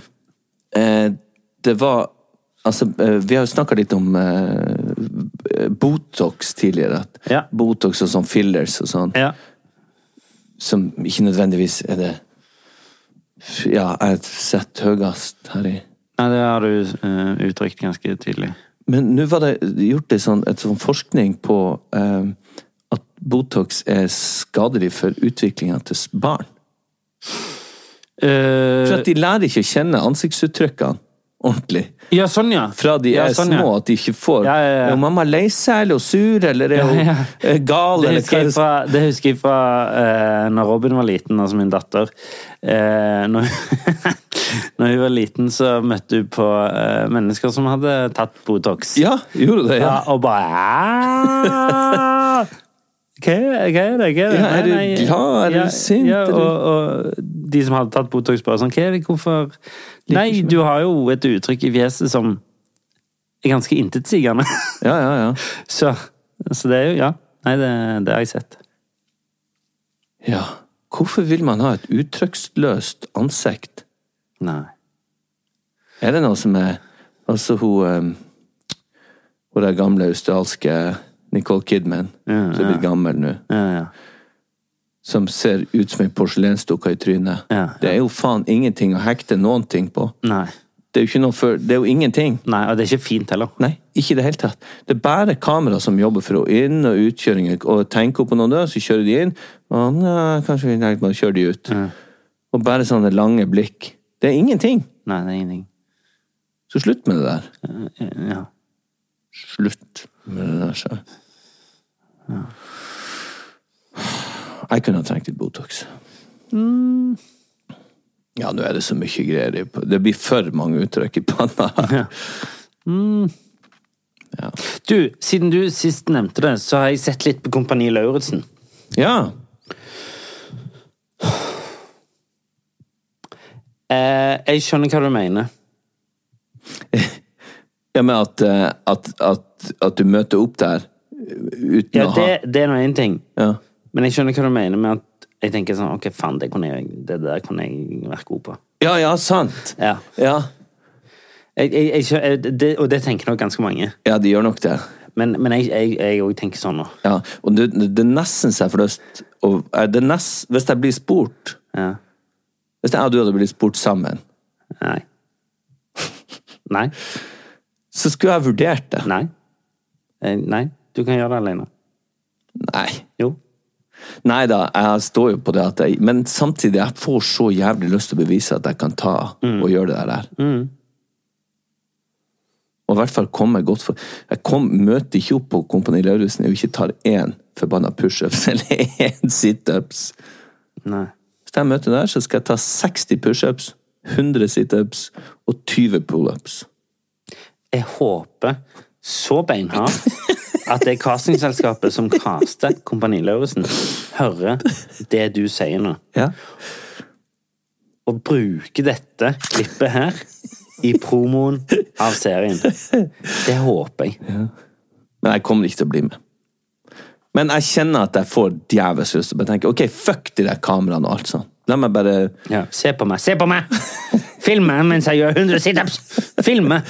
Speaker 3: Eh, det var Altså, eh, vi har jo snakka litt om eh, Botox tidligere. At
Speaker 2: Ja.
Speaker 3: Botox og sånn fillers og sånn,
Speaker 2: Ja,
Speaker 3: som ikke nødvendigvis er det Ja, jeg setter høyest her i
Speaker 2: nei, det har du eh, uttrykt ganske tidlig.
Speaker 3: Men nå var det gjort en sånn, et sånn forskning på eh, at Botox er skadelig for utviklinga til s- barn.
Speaker 2: Eh,
Speaker 3: For at de lærer ikke å kjenne ansiktsuttrykkene ordentlig.
Speaker 2: ja, sånn ja.
Speaker 3: Fra de
Speaker 2: ja,
Speaker 3: er
Speaker 2: sånn, ja.
Speaker 3: små, at de ikke får
Speaker 2: Ja, ja, ja.
Speaker 3: Er mamma lei seg, eller er hun sur, eller er hun
Speaker 2: Ja, ja.
Speaker 3: eh, gal,
Speaker 2: Det
Speaker 3: eller
Speaker 2: husker jeg
Speaker 3: hva
Speaker 2: fra, det husker jeg fra eh, når Robin var liten, altså min datter. Eh, når, når hun var liten, så møtte hun på eh, mennesker som hadde tatt Botox.
Speaker 3: Ja, gjorde det? Ja.
Speaker 2: Ja, og bare «Ah!» Hva er hva er det? Hva er det?
Speaker 3: Ja, er
Speaker 2: Nei,
Speaker 3: du
Speaker 2: nei,
Speaker 3: glad? Er du
Speaker 2: ja,
Speaker 3: sint?
Speaker 2: Ja,
Speaker 3: Er du-
Speaker 2: og, og de som hadde tatt Botox, bare sånn Hva er det? Hvorfor Nei, du har jo et uttrykk i fjeset som er ganske intetsigende.
Speaker 3: ja, ja, ja.
Speaker 2: Så, så det er jo Ja. Nei, det, det har jeg sett.
Speaker 3: Ja. Hvorfor vil man ha et uttrykksløst ansikt?
Speaker 2: Nei.
Speaker 3: Er det noe som er Altså hun eh, Hun der gamle australske Nicole Kidman, som er blitt gammel nå,
Speaker 2: Ja, ja.
Speaker 3: som ser ut som ei porselensdukke i trynet.
Speaker 2: Ja, ja.
Speaker 3: Det er jo faen ingenting å hekte noen ting på.
Speaker 2: Nei.
Speaker 3: Det er jo, ikke noe for, det er jo ingenting.
Speaker 2: Nei, og det er ikke fint heller.
Speaker 3: Nei, ikke i det hele tatt. Det er bare kamera som jobber for å inn- og utkjøringer. Og tenker på noen, så kjører de inn. Og nei, kanskje vi tenker på å kjøre de ut. Og bare sånne lange blikk. Det er ingenting.
Speaker 2: Nei, det er ingenting. Eh,
Speaker 3: Så slutt med det der.
Speaker 2: Ja.
Speaker 3: Slutt med det der, sa jeg. Jeg kunne ha trengt litt Botox. Ja, nå er det så mye greier. i- Det blir for mange uttrykk i panna. her.
Speaker 2: Du, siden du sist nevnte det, så har jeg sett litt på Kompani Lauritzen.
Speaker 3: Ja.
Speaker 2: Eh, jeg skjønner hva du mener.
Speaker 3: Ja, men at, eh, at, at, at du møter opp der eh, uten
Speaker 2: Ja,
Speaker 3: å ha
Speaker 2: det, det er nå én ting.
Speaker 3: ja.
Speaker 2: Men jeg skjønner hva du mener med at jeg tenker sånn Ok, faen, det, kunne jeg, det der kunne jeg vært god på.
Speaker 3: ja, ja, sant.
Speaker 2: Ja.
Speaker 3: Ja.
Speaker 2: Jeg, jeg, jeg, skjø- eh, det, og det tenker nok ganske mange.
Speaker 3: ja, de gjør nok det.
Speaker 2: Men, men jeg- jeg jeg òg tenker sånn nå.
Speaker 3: Ja. Og det, det er nesten så jeg får lyst å- eh, det er nest- Hvis jeg blir spurt
Speaker 2: Ja.
Speaker 3: Hvis jeg og du hadde blitt spurt sammen,
Speaker 2: Nei. Nei.
Speaker 3: så skulle jeg vurdert det.
Speaker 2: Nei. Eh, Nei. Du kan gjøre det alene.
Speaker 3: Nei.
Speaker 2: Jo.
Speaker 3: Nei da, jeg står jo på det at jeg Men samtidig, jeg får så jævlig lyst til å bevise at jeg kan ta og gjøre det der. Og i hvert fall komme godt for Jeg kom, møter ikke opp på Kompani Lauritzen og ikke tar én forbanna pushups eller én situps.
Speaker 2: Nei.
Speaker 3: Hvis jeg møter der, så skal jeg ta 60 pushups, 100 situps og 20 pullups.
Speaker 2: Jeg håper så beinhardt at det castingselskapet som caster Kompani Lauritzen, hører det du sier nå,
Speaker 3: Ja.
Speaker 2: og bruker dette klippet her i promoen av serien. Det håper jeg.
Speaker 3: Men jeg kommer ikke til å bli med. Men jeg kjenner at jeg får djevelsk lyst. Jeg tenker ok, fuck de der kameraene og alt sånn. La meg bare
Speaker 2: Ja. Se på meg, se på meg! Filme mens jeg gjør 100 situps! Filme!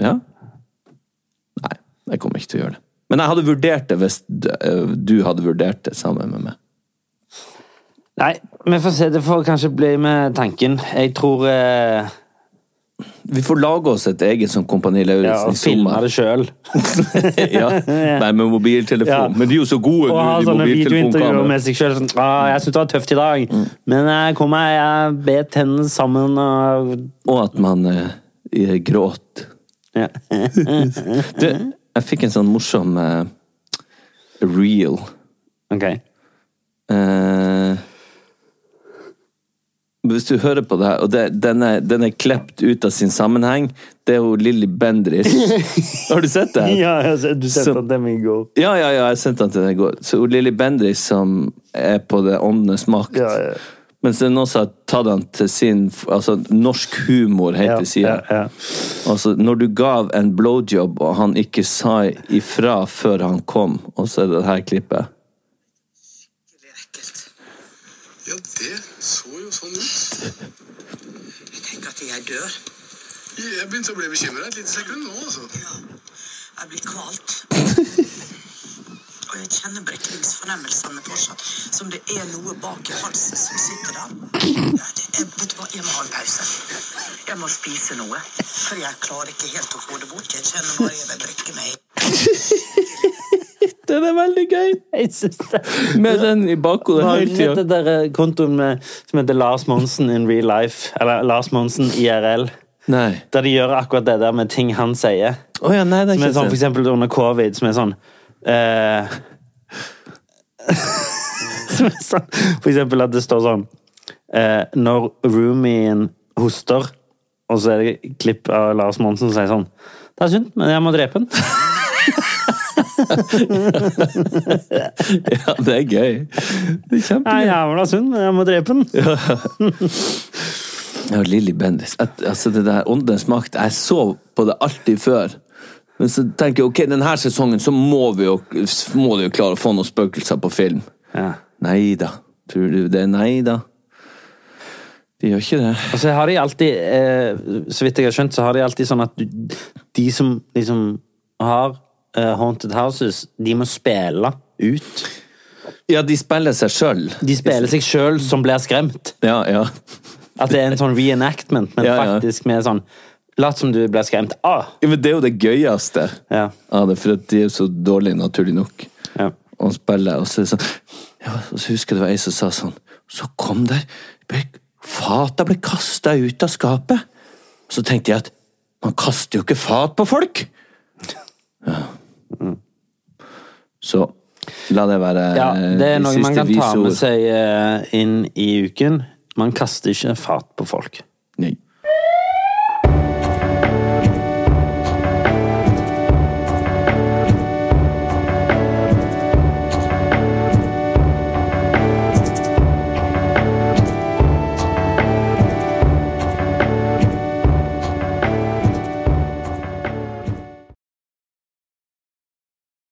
Speaker 3: Ja. Nei, jeg kommer ikke til å gjøre det. Men jeg hadde vurdert det hvis d- øh, du hadde vurdert det sammen med meg.
Speaker 2: Nei, vi får se. Det får kanskje bli med tanken. Jeg tror eh,
Speaker 3: Vi får lage oss et eget sånn Kompani
Speaker 2: Ja,
Speaker 3: Lauritzen
Speaker 2: å
Speaker 3: i
Speaker 2: filme
Speaker 3: sommer.
Speaker 2: det sjøl.
Speaker 3: ja. Nei, med mobiltelefon.
Speaker 2: Ja.
Speaker 3: Men de er jo så gode
Speaker 2: Og
Speaker 3: nå,
Speaker 2: ha
Speaker 3: de
Speaker 2: sånne videointervjuer
Speaker 3: mobiltelefonkameraene.
Speaker 2: med seg sjøl. Sånn, ah, 'Jeg syns det var tøft i dag, men jeg kom meg, jeg bet tennene sammen' og
Speaker 3: Og at man eh, eh, gråter.
Speaker 2: ja.
Speaker 3: Du, jeg fikk en sånn morsom eh, reel.
Speaker 2: Ok.
Speaker 3: Eh, hvis du hører på det her, og det, den, er, den er klept ut av sin sammenheng, det er jo Lilly Bendriss. Har du sett det?
Speaker 2: Ja, altså, du
Speaker 3: Så-
Speaker 2: sendte den i går.
Speaker 3: Ja, ja, ja, jeg sendte den til deg i går. Så Lilly Bendriss som er på det åndenes makt.
Speaker 2: Ja, ja.
Speaker 3: Mens det er noen som har tatt den til sin altså Norsk humor
Speaker 2: Ja,
Speaker 3: heter sida.
Speaker 2: ja, ja.
Speaker 3: Altså, når du gav en blowjob og han ikke sa ifra før han kom, og så er det her klippet.
Speaker 6: Ja, det så jo sånn ut.
Speaker 7: Jeg tenker at jeg dør.
Speaker 6: Jeg begynte å bli bekymra et lite sekund nå, altså.
Speaker 7: Jeg blir kvalt. Og jeg kjenner brekningsfornemmelsene fortsatt. Som det er noe bak i halsen som sitter der. Ja, det er, vet du hva, jeg må ha en pause. Jeg må spise noe. For jeg klarer ikke helt å få det bort. Jeg kjenner bare jeg vil drikke meg.
Speaker 3: Den er veldig gøy!
Speaker 2: Jeg syns det.
Speaker 3: Med den i bakhodet hele
Speaker 2: Mangler
Speaker 3: tida.
Speaker 2: den der eh, kontoen med, som heter Lars Monsen in real life, eller Lars Monsen IRL,
Speaker 3: Nei.
Speaker 2: der de gjør akkurat det der med ting han sier.
Speaker 3: Å ja, nei, det er
Speaker 2: Som
Speaker 3: ikke
Speaker 2: er sånn, for
Speaker 3: sånn.
Speaker 2: eksempel under covid, som er sånn eh, Som er sånn For eksempel at det står sånn eh, Når roomien hoster, og så er det klipp av Lars Monsen som sier sånn Det er sunt, men jeg må drepe den.
Speaker 3: Ja, det er gøy. Det er
Speaker 2: Nei,
Speaker 3: kjempegøy.
Speaker 2: jævla sunt, men jeg må drepe den.
Speaker 3: Ja, Lilly Bendriss. At- Altså, det der Åndens makt Jeg så på det alltid før. Men så tenker jeg ok, denne sesongen så må vi jo, må de jo klare å få noen spøkelser på film.
Speaker 2: Ja.
Speaker 3: Nei da. Tror du det? Nei da. De gjør ikke det.
Speaker 2: Og så har de alltid, eh, så vidt jeg har skjønt, så har de alltid sånn at du, de som liksom har eh, Haunted Houses, de må spille ut.
Speaker 3: Ja, de spiller seg sjøl.
Speaker 2: De spiller seg sjøl som blir skremt.
Speaker 3: Ja, ja.
Speaker 2: At det er en sånn reenactment, men
Speaker 3: Ja, ja.
Speaker 2: faktisk med sånn Lat som du ble skremt. Ah!
Speaker 3: ja. Men det er jo det gøyeste
Speaker 2: Ja.
Speaker 3: av det, for at de er så dårlige, naturlig nok.
Speaker 2: Ja.
Speaker 3: Og han spiller, og så er det sånn ja, Og så husker jeg det var ei som sa sånn Så kom der ble, Fata ble kasta ut av skapet. Så tenkte jeg at man kaster jo ikke fat på folk! Ja. Så la det være
Speaker 2: ja, det
Speaker 3: eh,
Speaker 2: er noe man
Speaker 3: siste
Speaker 2: kan ta
Speaker 3: visord.
Speaker 2: med seg eh, inn i uken. Man kaster ikke fat på folk.